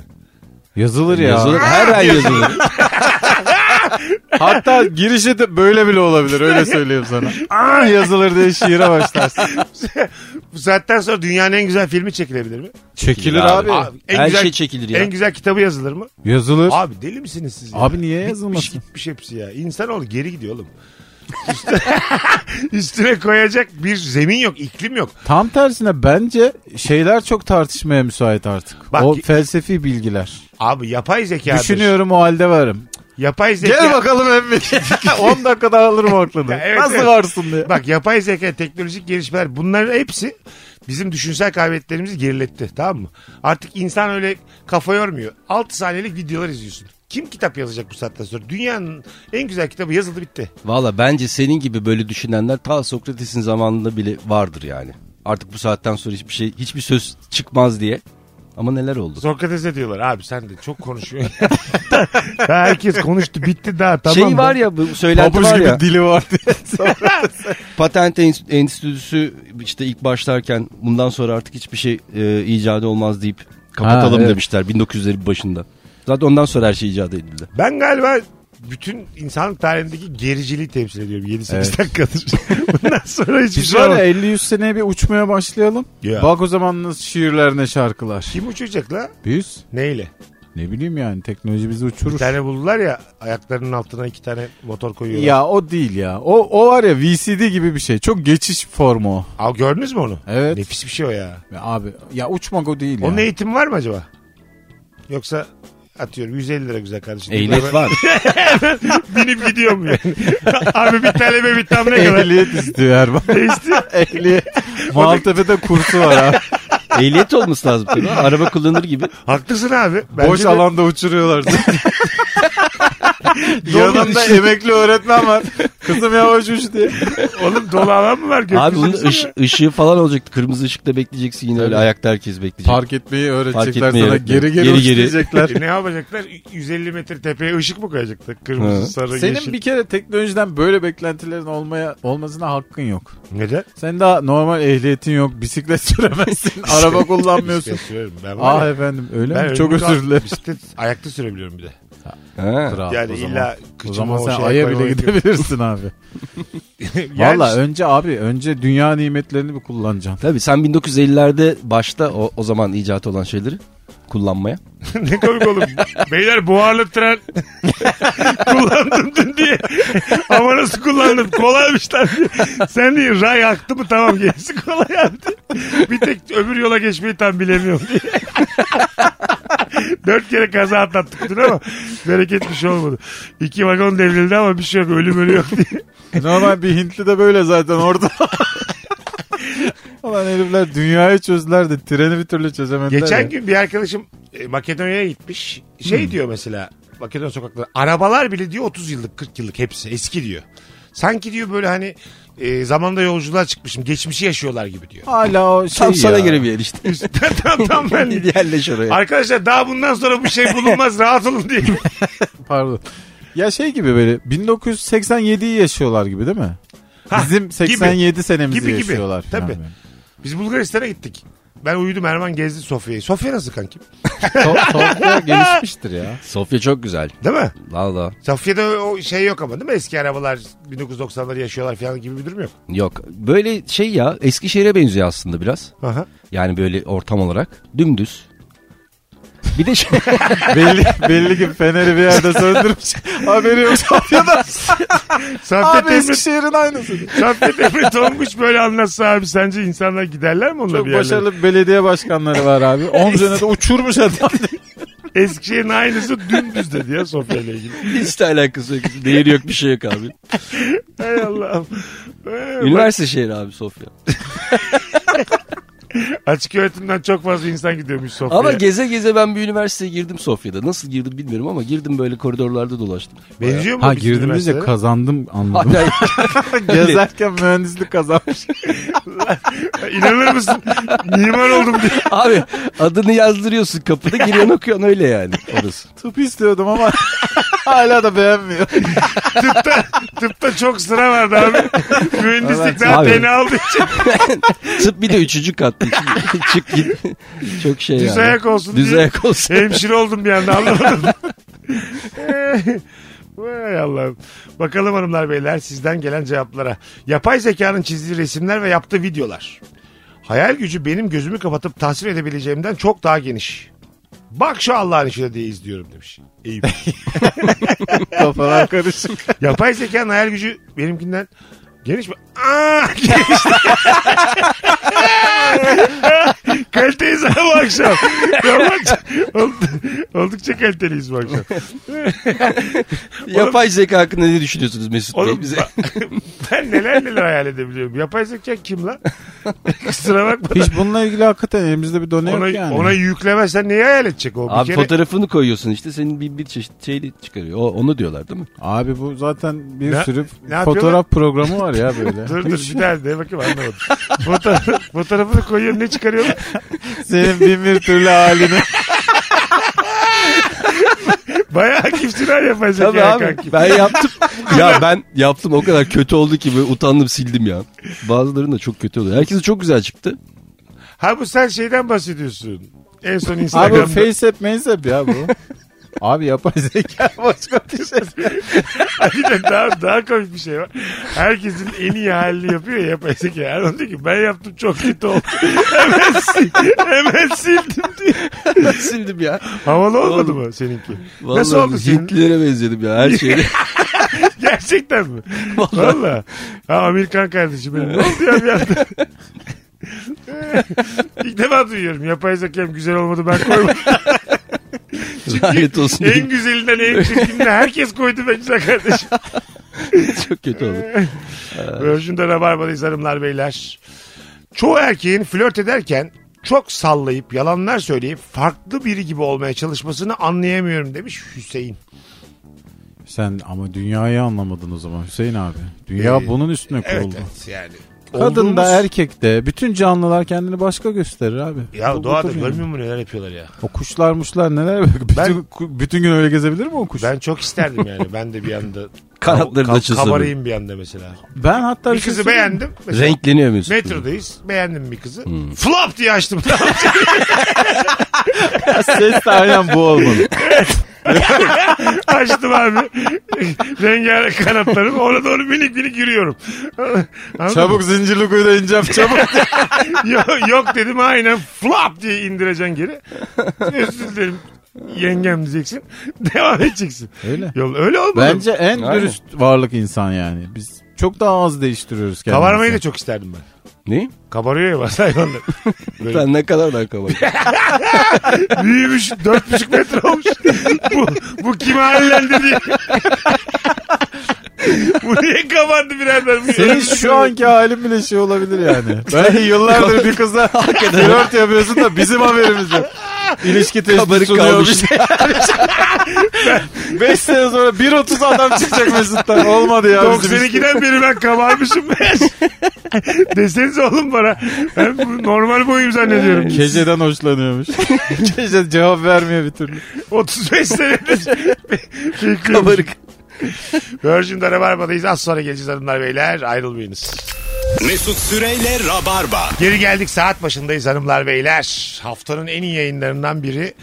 Speaker 5: Yazılır ya.
Speaker 4: Yazılır. Her ay yazılır.
Speaker 5: Hatta girişi de böyle bile olabilir öyle söyleyeyim sana. Ah yazılır diye şiire başlarsın.
Speaker 3: Bu saatten sonra dünyanın en güzel filmi çekilebilir mi?
Speaker 5: Çekilir abi.
Speaker 3: Abi, en
Speaker 4: Her
Speaker 3: güzel-
Speaker 4: şey çekilir ya.
Speaker 3: En güzel kitabı yazılır mı?
Speaker 5: Yazılır.
Speaker 3: Abi deli misiniz siz? ya?
Speaker 5: Abi niye
Speaker 3: Bitmiş
Speaker 5: yazılmasın?
Speaker 3: gitmiş hepsi ya. İnsanoğlu geri gidiyor oğlum. Üstüne, üstüne koyacak bir zemin yok, iklim yok.
Speaker 5: Tam tersine bence şeyler çok tartışmaya müsait artık.
Speaker 3: Bak-
Speaker 5: o felsefi bilgiler.
Speaker 3: Abi yapay zeka.
Speaker 5: Düşünüyorum o halde varım.
Speaker 3: Yapay zeka.
Speaker 5: Gel bakalım emmi. 10 dakikada alırım aklını.
Speaker 3: Ya evet,
Speaker 5: Nasıl
Speaker 3: evet.
Speaker 5: varsın diye.
Speaker 3: Bak yapay zeka, teknolojik gelişmeler bunların hepsi bizim düşünsel kabiliyetlerimizi geriletti tamam mı? Artık insan öyle kafa yormuyor. 6 saniyelik videolar izliyorsun. Kim kitap yazacak bu saatten sonra? Dünyanın en güzel kitabı yazıldı bitti.
Speaker 4: Valla bence senin gibi böyle düşünenler ta Sokrates'in zamanında bile vardır yani. Artık bu saatten sonra hiçbir şey, hiçbir söz çıkmaz diye. Ama neler oldu?
Speaker 3: Sokrates'e diyorlar abi sen de çok konuşuyorsun. Daha herkes konuştu bitti daha tamam
Speaker 4: şey
Speaker 3: mı?
Speaker 4: var ya bu söylenti var ya.
Speaker 5: dili var diye.
Speaker 4: Patent en- enstitüsü işte ilk başlarken bundan sonra artık hiçbir şey e, icadı olmaz deyip kapatalım
Speaker 5: Ha, evet.
Speaker 4: demişler 1900'lerin başında. Zaten ondan sonra her şey icat edildi.
Speaker 3: Ben galiba bütün insanlık tarihindeki gericiliği temsil ediyorum 7-8
Speaker 5: Evet.
Speaker 3: dakikadır. Bundan sonra hiçbir
Speaker 5: Biz
Speaker 3: şey
Speaker 5: var
Speaker 3: olmaz.
Speaker 5: ya 50-100 seneye bir uçmaya başlayalım.
Speaker 3: Ya.
Speaker 5: Bak o zaman nasıl şiirler ne şarkılar.
Speaker 3: Kim uçacak la?
Speaker 5: Biz
Speaker 3: Neyle?
Speaker 5: ne bileyim yani teknoloji bizi
Speaker 3: Bir
Speaker 5: uçurur.
Speaker 3: tane buldular ya ayaklarının altına iki tane motor koyuyorlar.
Speaker 5: Ya o değil ya. O, o var ya VCD gibi bir şey. Çok geçiş formu o.
Speaker 3: Aa, gördünüz mü onu?
Speaker 5: Evet.
Speaker 3: Nefis bir şey o ya.
Speaker 5: Ya abi ya uçmak o değil
Speaker 3: Onun
Speaker 5: ya.
Speaker 3: eğitimi var mı acaba? Yoksa atıyorum 150 lira güzel kardeşim.
Speaker 4: Ehliyet var.
Speaker 3: Binip gidiyorum yani. Abi bir tane be bir tam ne kadar.
Speaker 5: Ehliyet istiyor Erman.
Speaker 3: Değişti.
Speaker 5: Ehliyet. Maltepe'de kursu var abi.
Speaker 4: Ehliyet olması lazım. tabii. Araba kullanır gibi.
Speaker 3: Haklısın abi. Bence
Speaker 5: Boş
Speaker 3: de
Speaker 5: alanda uçuruyorlar. Yanında
Speaker 3: Dolanda-
Speaker 5: emekli öğretmen var. şey. Kızım yavaş uç diye.
Speaker 3: Oğlum dolu alan mı var gökyüzünde?
Speaker 4: Abi bunun ış- ışığı falan olacaktı. Kırmızı ışıkta bekleyeceksin yine öyle
Speaker 5: Tabii.
Speaker 4: ayakta herkes bekleyecek.
Speaker 5: Park etmeyi öğretecekler
Speaker 4: etmeyi
Speaker 5: sana.
Speaker 4: öğretmeyi.
Speaker 5: Geri geri,
Speaker 4: Geri
Speaker 5: uç
Speaker 4: geri.
Speaker 5: diyecekler.
Speaker 3: E ne yapacaklar? 150 metre tepeye ışık mı koyacaklar? Kırmızı,
Speaker 4: Ha.
Speaker 3: sarı, yeşil.
Speaker 5: Senin bir kere teknolojiden böyle beklentilerin olmaya olmasına hakkın yok.
Speaker 3: Neden?
Speaker 5: Sen daha normal ehliyetin yok. Bisiklet süremezsin. araba kullanmıyorsun.
Speaker 3: Bisiklet sürerim ben. var
Speaker 5: Ah
Speaker 3: ya.
Speaker 5: efendim öyle
Speaker 3: şey Ben
Speaker 5: mi? Çok
Speaker 3: ömrümde
Speaker 5: özür dilerim.
Speaker 3: Bisiklet ayakta sürebiliyorum bir de.
Speaker 4: Ha.
Speaker 5: Kral,
Speaker 3: Yani
Speaker 5: o zaman.
Speaker 3: illa
Speaker 5: o
Speaker 3: kıçıma
Speaker 5: zaman
Speaker 3: o
Speaker 5: sen
Speaker 3: şey
Speaker 5: aya
Speaker 3: koymama
Speaker 5: bile
Speaker 3: gerek yok.
Speaker 5: gidebilirsin abi.
Speaker 3: Yani
Speaker 5: Valla önce abi önce dünya nimetlerini bir kullanacaksın.
Speaker 4: Tabii sen 1950'lerde başta o, o zaman icat olan şeyleri kullanmaya.
Speaker 3: ne komik oğlum. Beyler buharlı tren kullandım dün diye. Ama nasıl kullandım? Kolaymış lan. Sen diye ray aktı mı tamam gerisi kolay abi. Bir tek öbür yola geçmeyi tam bilemiyorum diye. Dört kere kaza atlattık dün ama bereket bir şey olmadı. İki vagon devrildi ama bir şey yok ölüm ölü yok diye.
Speaker 5: E, Normal bir Hintli de böyle zaten orada. Ulan herifler dünyayı çözdüler de treni bir türlü çözemediler. ya.
Speaker 3: Geçen gün bir arkadaşım e, Makedonya'ya gitmiş. Şey diyor mesela Makedonya sokakları. Arabalar bile diyor 30 yıllık 40 yıllık hepsi eski diyor. Sanki diyor böyle hani e, zamanda yolculuğa çıkmışım. Geçmişi yaşıyorlar gibi diyor.
Speaker 5: Hala o şey
Speaker 4: Tam sana
Speaker 5: ya.
Speaker 4: göre bir yer işte.
Speaker 3: tam tam ben
Speaker 4: Yerleş oraya.
Speaker 3: Arkadaşlar daha bundan sonra bu şey bulunmaz rahat olun diye.
Speaker 5: Pardon. Ya şey gibi böyle 1987'yi yaşıyorlar gibi değil mi?
Speaker 3: Ha,
Speaker 5: Bizim 87 senemizi
Speaker 3: Gibi gibi.
Speaker 5: yaşıyorlar. falan
Speaker 3: Tabii.
Speaker 5: böyle.
Speaker 3: Biz Bulgaristan'a gittik. Ben uyudum Erman gezdi Sofya'yı. Sofya nasıl kankim?
Speaker 5: To- Topla gelişmiştir ya.
Speaker 4: Sofya çok güzel.
Speaker 3: Değil mi?
Speaker 4: Valla.
Speaker 3: Sofya'da o şey yok ama değil mi? Eski arabalar 1990'ları yaşıyorlar falan gibi bir durum yok.
Speaker 4: Yok. Böyle şey ya Eskişehir'e benziyor aslında biraz.
Speaker 3: Aha.
Speaker 4: Yani böyle ortam olarak. Dümdüz. Bir de şey,
Speaker 5: belli, belli ki feneri bir yerde söndürmüş. Haberi yok. Sofya'da.
Speaker 3: Sofya
Speaker 5: Abi
Speaker 3: Temre,
Speaker 5: Eskişehir'in aynısı.
Speaker 3: Sofya Temre Tonguç böyle anlatsa abi sence insanlar giderler mi onunla
Speaker 5: Çok
Speaker 3: bir yerlere?
Speaker 5: başarılı belediye başkanları var abi. 10 senede uçurmuş adam.
Speaker 3: Eskişehir'in aynısı dümdüz dedi ya Sofya ile ilgili.
Speaker 4: hiç de alakası yok. Değeri yok bir şey yok abi.
Speaker 3: Hay Allah'ım. Ee,
Speaker 4: Üniversite şehri abi Sofya.
Speaker 3: bak, Açık öğretimden çok fazla insan gidiyormuş Sofya'ya.
Speaker 4: Ama geze geze ben bir üniversiteye girdim Sofya'da. Nasıl girdim bilmiyorum ama girdim böyle koridorlarda dolaştım.
Speaker 3: Benziyor mu
Speaker 5: Ha
Speaker 3: bizim
Speaker 5: girdiğimizde
Speaker 3: üniversitelere?
Speaker 5: kazandım anladım.
Speaker 4: Hala
Speaker 5: Gezerken mühendislik kazanmış.
Speaker 3: İnanır mısın? Mimar oldum diye.
Speaker 4: abi adını yazdırıyorsun kapıda giriyorsun okuyorsun öyle yani orası.
Speaker 5: Tıp istiyordum ama hala da beğenmiyor.
Speaker 3: Tıpta, tıpta çok sıra vardı abi. Mühendislik daha
Speaker 4: Abi.
Speaker 3: beni aldığı için.
Speaker 4: Tıp bir de üçüncü kattı. Çık- Çık git. Çok şey
Speaker 3: Düz
Speaker 4: yani.
Speaker 3: ayak olsun
Speaker 4: Düz
Speaker 3: diye. Şey,
Speaker 4: ayak olsun.
Speaker 3: Hemşire oldum bir anda anlamadım. Eh, Vay Allah'ım. Bakalım hanımlar beyler sizden gelen cevaplara. Yapay zekanın çizdiği resimler ve yaptığı videolar. Hayal gücü benim gözümü kapatıp tasvir edebileceğimden çok daha geniş. Bak şu Allah'ın işine diye izliyorum demiş. Eyüp.
Speaker 5: Kafalar karışık.
Speaker 3: Yapay zekanın hayal gücü benimkinden geniş mi? Aa, geniş. Kaliteyiz ha bu akşam. Ya bu akşam- Old- Oldukça kaliteliyiz bu akşam.
Speaker 4: Yapay zeka hakkında ne düşünüyorsunuz Mesut Bey?
Speaker 3: Oğlum
Speaker 4: Bize...
Speaker 3: ben- ben neler neler hayal edebiliyorum. Yapay zeka kim lan? Kusura bakma. da
Speaker 5: Hiç bununla ilgili hakikaten elimizde bir done
Speaker 3: Ona,
Speaker 5: yok yani.
Speaker 3: ona yüklemezsen neyi hayal edecek o?
Speaker 4: Abi
Speaker 3: bir kere
Speaker 4: fotoğrafını koyuyorsun işte senin bir, bir çeşit şeyle çıkarıyor. O, onu diyorlar değil mi?
Speaker 5: Abi bu zaten bir
Speaker 3: Ne-
Speaker 5: sürü
Speaker 3: ne yapıyorlar?
Speaker 5: fotoğraf programı var ya böyle.
Speaker 3: Dur dur bir daha de bakayım anlamadım. Fotoğraf, fotoğrafını koyuyor ne çıkarıyor?
Speaker 5: Senin bin bir türlü halini.
Speaker 3: Bayağı kimsin ha yapay
Speaker 4: Tabii
Speaker 3: zeka
Speaker 4: abi
Speaker 3: kanki.
Speaker 4: ben yaptım. ya ben yaptım o kadar kötü oldu ki böyle utandım sildim ya. Bazılarının da çok kötü oluyor. Herkesi çok güzel çıktı.
Speaker 3: Ha bu sen şeyden bahsediyorsun. En son
Speaker 5: Abi
Speaker 3: Instagram'da.
Speaker 5: bu face app maze app ya bu. Abi yapay zeka başka bir şey.
Speaker 3: bir de daha, daha komik bir şey var. Herkesin en iyi halini yapıyor ya yapay zeka. Erman diyor ki ben yaptım çok kötü oldu. hemen, sil- hemen sildim diyor.
Speaker 4: sildim ya.
Speaker 3: Havalı olmadı mı seninki?
Speaker 4: Vallahi
Speaker 3: Nasıl oldu senin?
Speaker 4: Hitlilere benzedim ya her şeyde.
Speaker 3: Gerçekten mi? Valla. Ha Amerikan kardeşim benim. Ne oldu ya bir anda? İlk defa duyuyorum. Yapay zekam güzel olmadı ben koymadım.
Speaker 4: Lanet olsun
Speaker 3: en
Speaker 4: dedim.
Speaker 3: güzelinden en çirkininden herkes koydu be güzel kardeşim.
Speaker 4: Çok kötü oldu.
Speaker 3: Virgin'de Rabarba'dayız hanımlar beyler. Çoğu erkeğin flört ederken çok sallayıp yalanlar söyleyip farklı biri gibi olmaya çalışmasını anlayamıyorum demiş Hüseyin.
Speaker 5: Sen ama dünyayı anlamadın o zaman Hüseyin abi. Dünya
Speaker 3: Ee,
Speaker 5: bunun üstüne kuruldu.
Speaker 3: Evet, evet yani.
Speaker 5: Kadın da
Speaker 3: Olduğumuz-
Speaker 5: erkek de bütün canlılar kendini başka gösterir abi.
Speaker 3: Ya
Speaker 5: Bu- bu
Speaker 3: doğada
Speaker 5: tabii yani.
Speaker 3: görmüyor musun neler yapıyorlar ya?
Speaker 5: O kuşlar muşlar neler bütün,
Speaker 3: Ben-
Speaker 5: bütün gün öyle gezebilir mi o kuş? Ben,
Speaker 3: Ben çok isterdim yani. Ben de bir anda
Speaker 4: Kanatları da çizdim.
Speaker 3: kabarayım bir anda mesela.
Speaker 5: hatta
Speaker 3: Bir
Speaker 5: şey
Speaker 3: kızı
Speaker 5: söyleyeyim mi?
Speaker 3: beğendim. Mesela
Speaker 4: Renkleniyor Mesut.
Speaker 3: Metrodayız. Beğendim bir kızı. Flop diye açtım.
Speaker 5: Ses de aynen bu olmalı.
Speaker 3: açtım abi. Rengarenk kanatlarım. Ona doğru minik minik yürüyorum. Anladın
Speaker 5: Çabuk zincirli kuyuda ineceğim çabuk.
Speaker 3: yok, yok dedim aynen flop diye indireceksin geri. Özür dilerim yengem diyeceksin. Devam edeceksin.
Speaker 5: Öyle.
Speaker 3: Yol, öyle olmadı. Bence
Speaker 5: Bence en
Speaker 4: Aynen.
Speaker 5: dürüst varlık insan yani. Biz çok daha az değiştiriyoruz kendimizi.
Speaker 3: Kabarmayı da çok isterdim ben.
Speaker 4: Ne?
Speaker 3: Kabarıyor ya bazı hayvanlar. Böyle
Speaker 4: Ben ne kadar daha kabarayım.
Speaker 3: büyümüş dört buçuk metre olmuş. bu, bu kime hallendi diye. bu niye kabardı birader? Bu
Speaker 5: Senin şu anki halin bile şey olabilir yani. Ben yıllardır bir kızla flört yapıyorsun da bizim haberimiz yok. İlişki testi
Speaker 4: Kabarık
Speaker 5: sunuyor bir
Speaker 4: kalmış.
Speaker 5: şey. 5 sene sonra 1.30 adam çıkacak Mesut'tan. Olmadı ya bizim iş.
Speaker 3: 92'den beri ben kabarmışım. Desenize oğlum bana. Ben bu normal boyum zannediyorum.
Speaker 5: Ee, Keceden hoşlanıyormuş. Kece cevap vermiyor bir türlü.
Speaker 3: 35 senedir bekliyormuşum.
Speaker 4: Kabarık.
Speaker 3: Virgin'de Rabarba'dayız. Az sonra geleceğiz hanımlar beyler. Ayrılmayınız.
Speaker 2: Mesut Süreyle Rabarba.
Speaker 3: Geri geldik saat başındayız hanımlar beyler. Haftanın en iyi yayınlarından biri.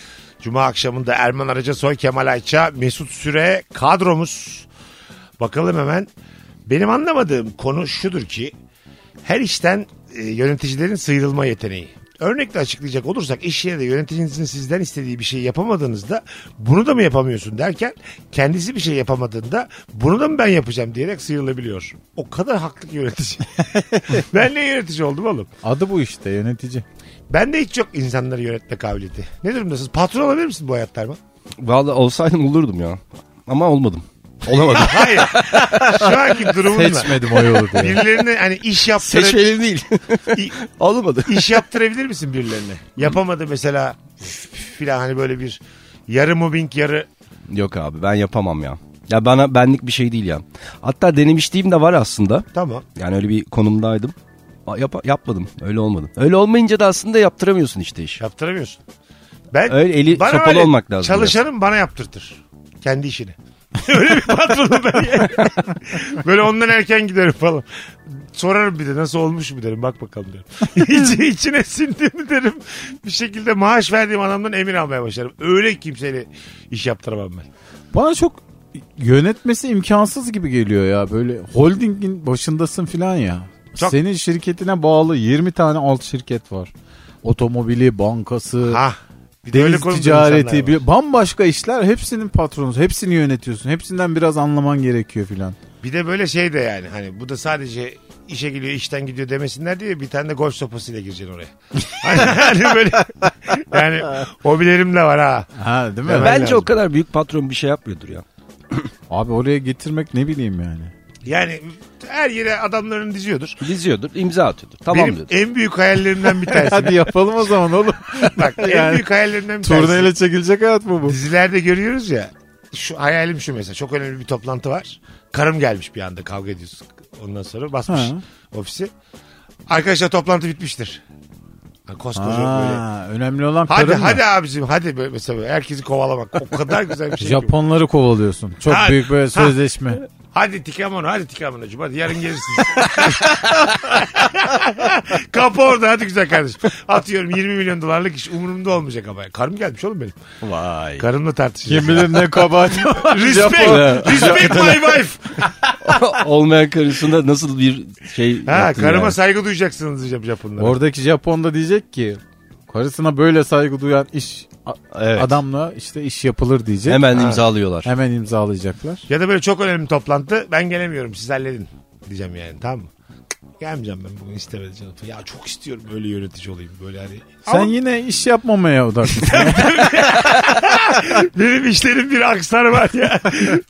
Speaker 3: Cuma akşamında Erman Araca Soy Kemal Ayça Mesut Süre kadromuz. Bakalım hemen. Benim anlamadığım konu şudur ki her işten e, yöneticilerin sıyrılma yeteneği. Örnekle açıklayacak olursak iş yerinde yöneticinizin sizden istediği bir şey yapamadığınızda bunu da mı yapamıyorsun derken kendisi bir şey yapamadığında bunu da mı ben yapacağım diyerek sıyrılabiliyor. O kadar haklı ki yönetici. ben ne yönetici oldum oğlum?
Speaker 5: Adı bu işte yönetici.
Speaker 3: Ben de hiç yok insanları yönetme kabiliyeti. Ne durumdasınız? Patron olabilir misin bu hayatta Erman?
Speaker 4: Valla olsaydım olurdum ya. Ama olmadım. Olamadım.
Speaker 3: Hayır. Şu anki durumunda.
Speaker 5: Seçmedim o yolu diye.
Speaker 3: Birilerine hani iş yaptırabilir
Speaker 4: Seçmeli değil. Olmadı.
Speaker 3: iş yaptırabilir misin birilerine? Yapamadı mesela filan hani böyle bir yarı mobbing yarı
Speaker 4: Yok abi ben yapamam ya. Ya bana benlik bir şey değil ya. Hatta denemişliğim de var aslında.
Speaker 3: tamam.
Speaker 4: Yani öyle bir konumdaydım. A- yapa- yapmadım. Öyle olmadım. Öyle olmayınca da aslında yaptıramıyorsun işte iş.
Speaker 3: Yaptıramıyorsun. Ben
Speaker 4: Öyle eli
Speaker 3: bana
Speaker 4: sopalı
Speaker 3: öyle
Speaker 4: olmak lazım.
Speaker 3: Çalışanım bana yaptırtır. Kendi işini. Öyle bir patronum ben. yani. Böyle ondan erken giderim falan. Sorarım bir de nasıl olmuş mu derim bak bakalım derim. İçi, içine sindi mi derim. Bir şekilde maaş verdiğim adamdan emir almaya başlarım. Öyle kimseyle iş yaptıramam ben.
Speaker 5: Bana çok yönetmesi imkansız gibi geliyor ya. Böyle holdingin başındasın filan ya.
Speaker 3: Çok-
Speaker 5: Senin şirketine bağlı 20 tane alt şirket var. Otomobili, bankası,
Speaker 3: Ha. öyle
Speaker 5: deniz
Speaker 3: konumda insanlar var.
Speaker 5: ticareti, bir- bambaşka işler. Hepsinin patronu, hepsini yönetiyorsun. Hepsinden biraz anlaman gerekiyor filan.
Speaker 3: Bir de böyle şey de yani hani bu da sadece işe geliyor işten gidiyor demesinler diye bir tane de golf sopasıyla gireceksin oraya. hani, hani böyle yani hobilerim de var ha.
Speaker 5: Ha değil mi?
Speaker 3: Hemen-
Speaker 4: Bence
Speaker 3: lazım.
Speaker 4: o kadar büyük patron bir şey yapmıyordur ya.
Speaker 5: Abi oraya getirmek ne bileyim yani.
Speaker 3: Yani her yere adamlarını diziyordur.
Speaker 4: Diziyordur, imza atıyordur. Tamam
Speaker 3: Benim
Speaker 4: diyordur.
Speaker 3: en büyük hayallerimden bir tanesi.
Speaker 5: Hadi yapalım o zaman oğlum.
Speaker 3: Bak en
Speaker 5: Yani
Speaker 3: büyük hayallerimden bir tanesi.
Speaker 5: Turneyle çekilecek hayat mı bu?
Speaker 3: Dizilerde görüyoruz ya. Şu hayalim şu mesela. Çok önemli bir toplantı var. Karım gelmiş bir anda kavga ediyoruz. Ondan sonra basmış
Speaker 5: Ha.
Speaker 3: ofisi. Arkadaşlar toplantı bitmiştir. Yani Koskoca böyle.
Speaker 5: Ha, önemli olan
Speaker 3: Hadi
Speaker 5: karın mı?
Speaker 3: hadi abicim hadi böyle mesela herkesi kovalamak o kadar güzel bir şey. ki bu.
Speaker 5: Japonları kovalıyorsun. Çok
Speaker 3: Ha,
Speaker 5: büyük böyle
Speaker 3: ha.
Speaker 5: sözleşme.
Speaker 3: Hadi tikamono hadi tikamonocum hadi yarın gelirsin. Kapı orada hadi güzel kardeşim. Atıyorum 20 milyon dolarlık iş umurumda olmayacak ama. Karım gelmiş oğlum benim.
Speaker 4: Vay.
Speaker 3: Karımla tartışacağız.
Speaker 5: Kim bilir ne kabahat var.
Speaker 3: Respect,
Speaker 5: Japon.
Speaker 3: respect my wife.
Speaker 4: Olmayan karısında nasıl bir şey
Speaker 3: Ha,
Speaker 4: yaptın
Speaker 3: karıma
Speaker 4: yani?
Speaker 3: saygı duyacaksınız diyeceğim Japonlara.
Speaker 5: Oradaki Japon da diyecek ki karısına böyle saygı duyan iş a-
Speaker 4: Evet.
Speaker 5: adamla işte iş yapılır diyecek. Hemen,
Speaker 4: Hemen imzalıyorlar.
Speaker 5: imzalayacaklar.
Speaker 3: Ya da böyle çok önemli toplantı ben gelemiyorum siz halledin diyeceğim yani tamam mı? Cık, Gelmeyeceğim ben bugün istemedi canım. Ya çok istiyorum böyle yönetici olayım böyle hani.
Speaker 5: Sen
Speaker 3: Ama
Speaker 5: yine iş yapmamaya odaklısın.
Speaker 3: benim işlerim bir aksar var ya.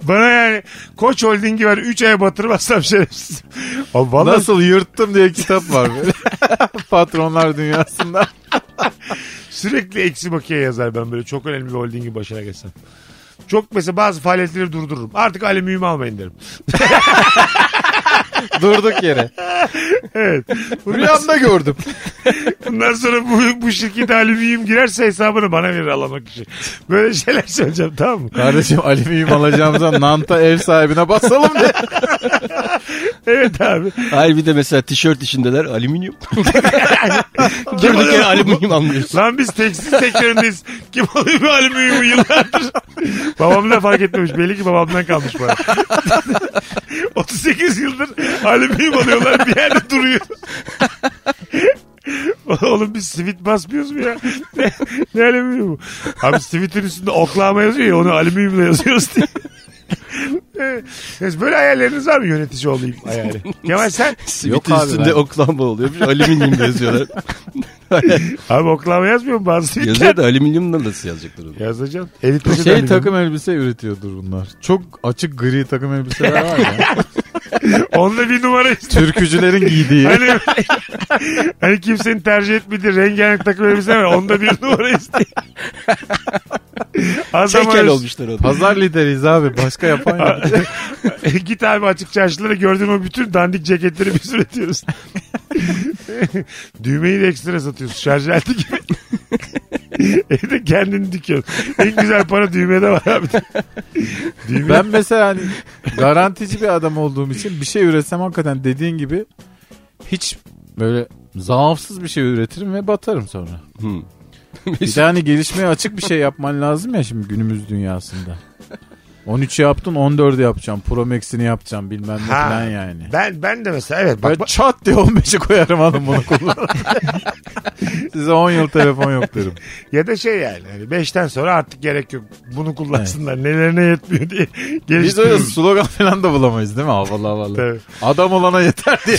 Speaker 3: Bana yani koç holdingi ver 3 aya batırmazsam şerefsiz. Abi vallahi
Speaker 5: Nasıl yırttım diye kitap var. böyle. Patronlar dünyasında.
Speaker 3: sürekli eksi bakiye yazar ben böyle çok önemli bir holdingi başına geçsem. Çok mesela bazı faaliyetleri durdururum. Artık alüminyum almayın derim.
Speaker 5: Durduk yere.
Speaker 3: Evet.
Speaker 5: Rüyamda gördüm.
Speaker 3: Bundan sonra bu, bu şirkete alüminyum girerse hesabını bana verir alamak için. Böyle şeyler söyleyeceğim tamam mı?
Speaker 5: Kardeşim alüminyum alacağımıza Nant'a ev sahibine basalım diye.
Speaker 3: Evet abi.
Speaker 4: Hayır bir de mesela tişört içindeler alüminyum.
Speaker 3: oluyor
Speaker 4: Durduk yere
Speaker 3: bu?
Speaker 4: alüminyum almıyorsun.
Speaker 3: Lan biz tekstil sektöründeyiz. Kim alıyor bu alüminyumu yıllardır? Babam da fark etmemiş. Belli ki babamdan kalmış bana. 38 yıldır alüminyum alıyorlar. Bir yerde duruyor. Oğlum biz sivit basmıyoruz mu ya? Ne, ne alüminyumu? Abi sivitin üstünde oklama yazıyor ya onu alüminyumla yazıyoruz diye. Neyse, Böyle hayalleriniz var mı yönetici olayım hayali? Kemal sen
Speaker 4: Simit
Speaker 5: abi
Speaker 4: üstünde
Speaker 5: ben-
Speaker 4: oklamba oluyormuş. Alüminyum da yazıyorlar.
Speaker 3: abi oklama yazmıyor mu bazı sivitler?
Speaker 4: Yazıyor da alüminyumla nasıl yazacaklar onu?
Speaker 3: Yazacağım. Editleşe
Speaker 5: Şey
Speaker 3: dönüyorum.
Speaker 5: takım elbise üretiyordur bunlar. Çok açık gri takım elbiseler var ya.
Speaker 3: Onda bir numara
Speaker 5: Türkücülerin giydiği.
Speaker 3: Hani, hani kimsenin tercih etmediği rengarenk takım elbise var. Onda bir numara isteyin. Az ama
Speaker 4: Tekel
Speaker 3: öz-
Speaker 4: olmuşlar onlar.
Speaker 5: Pazar lideriyiz abi. Başka yapan yok.
Speaker 3: Git abi açık çarşılara gördüğün o bütün dandik ceketleri biz üretiyoruz. Düğmeyi de ekstra satıyorsun. Şarj aleti gibi. Evde kendini dikiyorsun. En güzel para düğmede var abi. Düğme...
Speaker 5: Ben mesela hani garantici bir adam olduğum için bir şey üretsem hakikaten dediğin gibi hiç böyle zaafsız bir şey üretirim ve batarım sonra.
Speaker 4: Hmm.
Speaker 5: Bir de hani gelişmeye açık bir şey yapman lazım ya şimdi günümüz dünyasında. 13 yaptın 14 yapacağım. Pro Max'ini yapacağım bilmem ne
Speaker 3: Ha.
Speaker 5: falan yani.
Speaker 3: Ben, ben de mesela evet. Bak,
Speaker 5: Böyle çat diye 15'i koyarım hanım bunu kullan. Size 10 yıl telefon yok derim.
Speaker 3: Ya da şey yani hani 5'ten sonra artık gerek yok. Bunu kullansınlar. Nelerine yetmiyor diye
Speaker 5: Biz öyle
Speaker 3: geliştiriyoruz.
Speaker 5: slogan falan da bulamayız değil mi? Havalı havalı.
Speaker 3: Tabii.
Speaker 5: Adam olana yeter diye.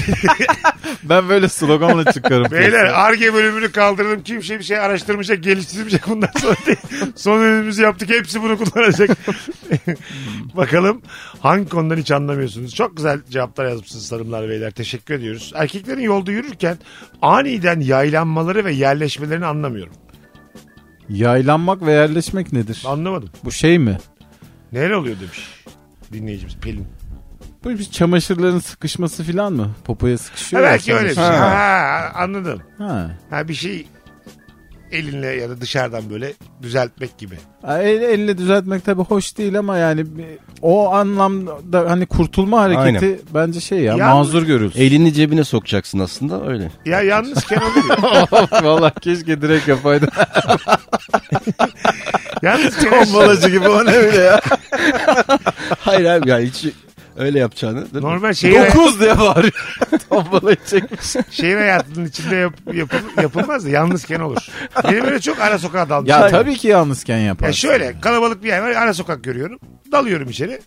Speaker 5: ben böyle sloganla çıkarım.
Speaker 3: Beyler ARGE bölümünü kaldırdım. Kimse bir şey araştırmayacak, geliştirmeyecek bundan sonra değil. Son önümüzü yaptık. Hepsi bunu kullanacak. Bakalım hangi konudan hiç anlamıyorsunuz. Çok güzel cevaplar yazmışsınız hanımlar beyler. Teşekkür ediyoruz. Erkeklerin yolda yürürken aniden yaylanmaları ve yerleşmelerini anlamıyorum.
Speaker 5: Yaylanmak ve yerleşmek nedir?
Speaker 3: Anlamadım.
Speaker 5: Bu şey mi?
Speaker 3: Neler oluyor demiş dinleyicimiz Pelin.
Speaker 5: Bu bir çamaşırların sıkışması falan mı? Popoya
Speaker 3: Ha,
Speaker 5: sıkışıyor. ya
Speaker 3: belki öyle bir şey.
Speaker 5: çamaşır. Ha.
Speaker 3: Ha, anladım.
Speaker 5: Ha.
Speaker 3: Ha bir şey elinle ya da dışarıdan böyle düzeltmek gibi.
Speaker 5: Ha, El, elle düzeltmek tabii hoş değil ama yani bir- o anlamda hani kurtulma hareketi bence şey ya,
Speaker 3: Ya-
Speaker 5: mazur görülsün.
Speaker 4: Elini cebine sokacaksın aslında öyle.
Speaker 3: Ya yalnızken olur ya.
Speaker 5: Valla keşke direkt yapaydım.
Speaker 3: yalnızken
Speaker 5: Balacı gibi o ne öyle ya.
Speaker 4: Hayır abi yani hiç öyle yapacağını. değil mi?
Speaker 3: normal şehir,
Speaker 5: 9 diye bağırıyor. Tombalayı çekmiş.
Speaker 3: şehir Şey hayatının içinde yap, yapıl- yapılmaz da yalnızken olur. Benim böyle çok ara sokağa dalmışım.
Speaker 5: Ya tabii ki yalnızken yapar.
Speaker 3: Ya E, şöyle kalabalık bir yer var ara sokak görüyorum. Dalıyorum içeri.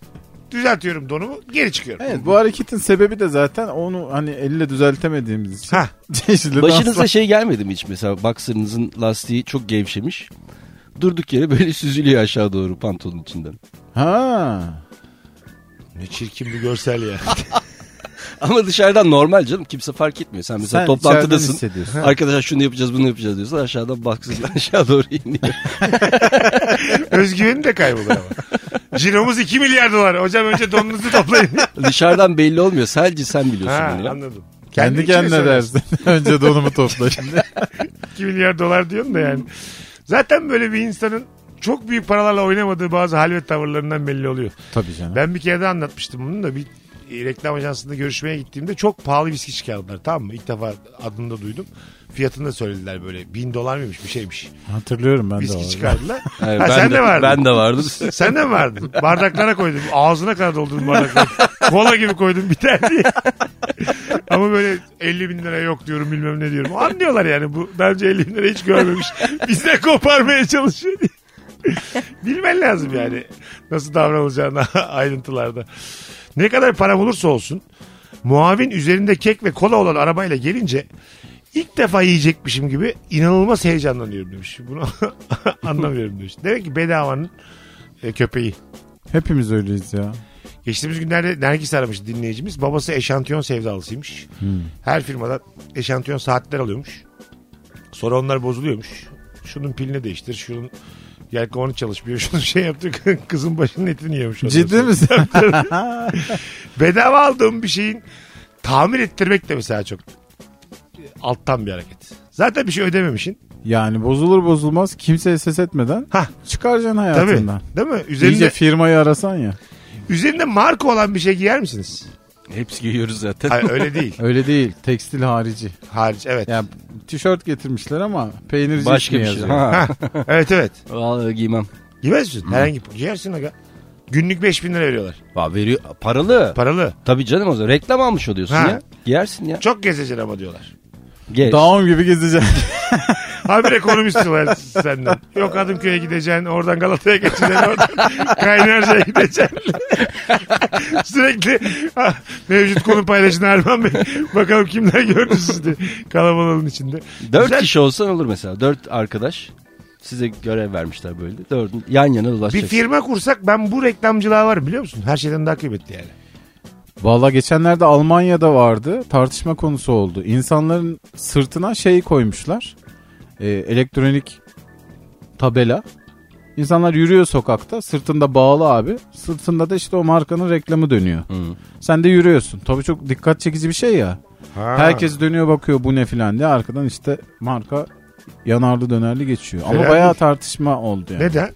Speaker 3: Düzeltiyorum donumu geri çıkıyorum.
Speaker 5: Evet bu hareketin sebebi de zaten onu hani elle düzeltemediğimiz için.
Speaker 3: Hah.
Speaker 5: Çeşitli
Speaker 4: Başınıza
Speaker 5: danslar-
Speaker 4: şey gelmedi mi hiç mesela boxer'ınızın lastiği çok gevşemiş. Durduk yere böyle süzülüyor aşağı doğru pantolonun içinden.
Speaker 5: Ha.
Speaker 3: Ne çirkin bir görsel ya.
Speaker 4: Ama dışarıdan normal canım kimse fark etmiyor. Sen mesela
Speaker 5: Sen içeriden
Speaker 4: toplantıdasın.
Speaker 5: hissediyorsun.
Speaker 4: Arkadaşlar şunu yapacağız bunu yapacağız diyorsun. Aşağıdan boxer'ın aşağı doğru iniyor.
Speaker 3: Özgüveni de kaybolur ama. Ciromuz 2 milyar dolar. Hocam önce donunuzu toplayın.
Speaker 4: dışarıdan belli olmuyor. Sadece sen biliyorsun
Speaker 3: ha,
Speaker 4: bunu ya.
Speaker 3: anladım.
Speaker 5: Kendi
Speaker 3: içine
Speaker 5: kendine
Speaker 3: söylersin.
Speaker 5: dersin. Önce donumu topla şimdi.
Speaker 3: 2 milyar dolar diyorsun da yani. Zaten böyle bir insanın çok büyük paralarla oynamadığı bazı hal ve tavırlarından belli oluyor.
Speaker 5: Tabii canım.
Speaker 3: Ben bir kere de anlatmıştım bunu da bir e, reklam ajansında görüşmeye gittiğimde çok pahalı viski çıkardılar tamam mı? İlk defa adını da duydum. Fiyatını da söylediler böyle. Bin dolar mıymış bir şeymiş.
Speaker 5: Hatırlıyorum ben de.
Speaker 3: Viski
Speaker 5: o arada.
Speaker 3: çıkardılar.
Speaker 4: Hayır,
Speaker 3: ha,
Speaker 4: ben
Speaker 3: sen de,
Speaker 4: de,
Speaker 3: vardın.
Speaker 4: Ben de vardım.
Speaker 3: Sen de mi vardın? Bardaklara koydum. Ağzına kadar doldurdum bardakları. Kola gibi koydum biter diye. Ama böyle 50 bin lira yok diyorum bilmem ne diyorum. Anlıyorlar yani bu. Daha önce 50 bin lira hiç görmemiş. Bizden koparmaya çalışıyor diye. Bilmen lazım yani. Nasıl davranılacağını ayrıntılarda. Ne kadar para olursa olsun muavin üzerinde kek ve kola olan arabayla gelince ilk defa yiyecekmişim gibi inanılmaz heyecanlanıyorum demiş. Bunu anlamıyorum demiş. Demek ki bedavanın e, köpeği.
Speaker 5: Hepimiz öyleyiz ya.
Speaker 3: Geçtiğimiz günlerde Nergis aramış dinleyicimiz. Babası eşantiyon sevdalısıymış.
Speaker 5: Hmm.
Speaker 3: Her firmadan eşantiyon saatler alıyormuş. Sonra onlar bozuluyormuş. Şunun pilini değiştir, şunun Yelkovanı çalışmıyor. Şunu şey yaptık. Kızın başının etini yemiş. ondan
Speaker 5: Ciddi
Speaker 3: sonra.
Speaker 5: misin?
Speaker 3: Bedava aldığım bir şeyin tamir ettirmek de mesela çok alttan bir hareket. Zaten bir şey ödememişsin.
Speaker 5: yani bozulur bozulmaz kimseye ses etmeden
Speaker 3: Hah.
Speaker 5: çıkaracaksın
Speaker 3: Tabii.
Speaker 5: hayatından.
Speaker 3: Değil mi? Üzerinde,
Speaker 5: İyice firmayı arasan ya.
Speaker 3: üzerinde marka olan bir şey giyer misiniz?
Speaker 4: Hepsi giyiyoruz zaten.
Speaker 3: Hayır öyle değil.
Speaker 5: Öyle değil. Tekstil harici.
Speaker 3: Hariç evet.
Speaker 5: Ya tişört getirmişler ama peynirci
Speaker 4: Başka bir şey.
Speaker 5: yazıyor.
Speaker 4: Ha.
Speaker 3: Evet evet.
Speaker 4: Vallahi giymem.
Speaker 3: Giymez misin? Herhangi bir giyersin aga. Günlük 5000 lira veriyorlar.
Speaker 4: Va veriyor paralı.
Speaker 3: Paralı.
Speaker 4: Tabii canım o zaman reklam almış oluyorsun
Speaker 3: Ha.
Speaker 4: ya. Giyersin ya.
Speaker 3: Çok gezeceksin ama diyorlar.
Speaker 4: Gez.
Speaker 5: Dağım gibi gezeceksin.
Speaker 3: Haber ekonomisti var senden. Yok Adımköy'e gideceksin. Oradan Galata'ya geçeceksin. Oradan Kaynarca'ya gideceksin. Sürekli ha, mevcut konu paylaşın Erman Bey. Bakalım kimler gördü sizi kalabalığın içinde.
Speaker 4: Dört
Speaker 3: Güzel.
Speaker 4: kişi olsan olur mesela. Dört arkadaş. Size görev vermişler böyle. de. Dördün yan yana
Speaker 3: Bir
Speaker 4: dolaşacaksın.
Speaker 3: firma kursak ben bu reklamcılığa var biliyor musun? Her şeyden daha kıymetli yani.
Speaker 5: Valla geçenlerde Almanya'da vardı. Tartışma konusu oldu. İnsanların sırtına şey koymuşlar. Ee, elektronik tabela. İnsanlar yürüyor sokakta. Sırtında bağlı abi. Sırtında da işte o markanın reklamı dönüyor. Sen de yürüyorsun. Tabii çok dikkat çekici bir şey ya.
Speaker 3: Ha.
Speaker 5: Herkes dönüyor bakıyor bu ne filan diye. Arkadan işte marka yanarlı dönerli geçiyor. Ama
Speaker 3: Helal
Speaker 5: bayağı
Speaker 3: olsun.
Speaker 5: tartışma oldu yani.
Speaker 3: Neden?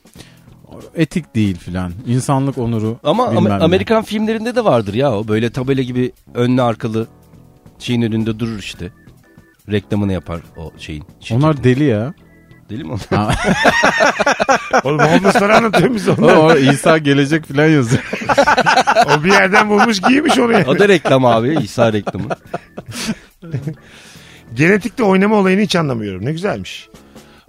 Speaker 5: Etik değil filan. İnsanlık onuru.
Speaker 4: Ama
Speaker 5: bilmem
Speaker 4: Amer-
Speaker 5: ne.
Speaker 4: Amerikan filmlerinde de vardır ya o. Böyle tabela gibi önlü arkalı şeyin önünde durur işte. Reklamını yapar o şeyin. şirketin.
Speaker 5: Onlar deli ya.
Speaker 4: Deli mi onlar?
Speaker 3: Oğlum homeless'lara anlatıyor biz onu.
Speaker 5: O İsa gelecek filan yazıyor.
Speaker 3: O bir yerden bulmuş giymiş onu yani.
Speaker 4: O da reklam abi. İsa reklamı.
Speaker 3: Genetikte oynama olayını hiç anlamıyorum. Ne güzelmiş.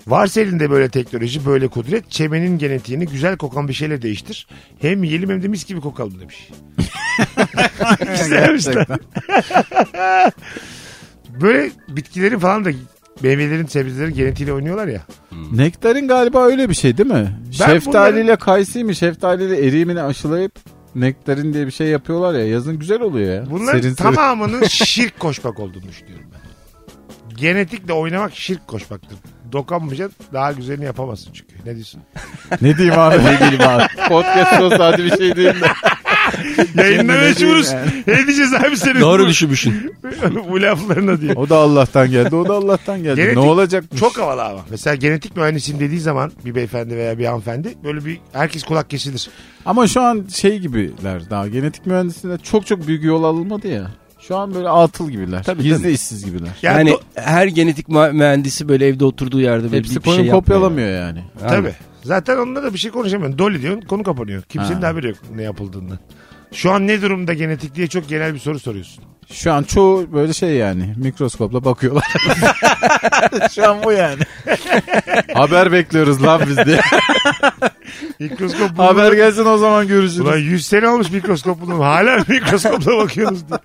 Speaker 3: Varsa elinde böyle teknoloji, böyle kudret, çemenin genetiğini güzel kokan bir şeyle değiştir. Hem yiyelim hem de mis gibi kokalım demiş. Güzelmiş lan. Böyle bitkilerin falan da meyvelerin, sebzelerin genetiğiyle oynuyorlar ya.
Speaker 4: Hmm.
Speaker 5: Nektarin galiba öyle bir şey değil mi? şeftaliyle kayısı mı şeftaliyle eriği mi ne aşılayıp nektarin diye bir şey yapıyorlar ya. Yazın güzel oluyor ya.
Speaker 3: Bunların
Speaker 5: Serin serin.
Speaker 3: tamamının şirk koşmak olduğunu düşünüyorum ben. Genetikle oynamak şirk koşmaktır. Dokanmayacaksın daha güzelini yapamazsın çünkü. Ne diyorsun?
Speaker 5: Ne diyeyim abi ne diyeyim abi. Podcast olsa hadi bir şey diyeyim de.
Speaker 3: Yayında
Speaker 5: Şimdi ne
Speaker 3: meşhuruz.
Speaker 5: diyeyim
Speaker 3: Ne diyeceğiz abi senin?
Speaker 4: Doğru düşünmüşsün.
Speaker 3: bu laflarına diye.
Speaker 5: O da Allah'tan geldi o da Allah'tan geldi.
Speaker 3: Genetik
Speaker 5: ne olacakmış?
Speaker 3: Çok havalı ama. Mesela genetik mühendisim dediği zaman bir beyefendi veya bir hanımefendi böyle bir herkes kulak kesilir.
Speaker 5: Ama şu an şey gibiler daha genetik mühendisliğinde çok çok büyük yol alınmadı ya. Şu an böyle atıl gibiler.
Speaker 4: Tabii,
Speaker 5: Gizli
Speaker 4: tabii.
Speaker 5: işsiz gibiler.
Speaker 3: Yani,
Speaker 4: Yani
Speaker 3: do-
Speaker 4: her genetik mü- mühendisi böyle evde oturduğu yerde böyle
Speaker 5: Hepsi
Speaker 4: bir şey
Speaker 5: koyun
Speaker 4: yapmıyor.
Speaker 5: kopyalamıyor yani.
Speaker 3: tabii. Zaten onunla da bir şey konuşamıyorsun. Dolly diyorsun konu kapanıyor. Kimsenin
Speaker 5: Ha.
Speaker 3: de haberi yok ne yapıldığından. Şu an ne durumda genetik diye çok genel bir soru soruyorsun.
Speaker 5: Şu an çoğu böyle şey yani mikroskopla bakıyorlar. Şu an bu yani. Haber bekliyoruz lan biz diye.
Speaker 3: Mikroskop bulundu.
Speaker 5: Haber gelsin o zaman görüşürüz.
Speaker 3: Ulan 100 sene olmuş mikroskop bulundu. Hala mikroskopla bakıyoruz diye.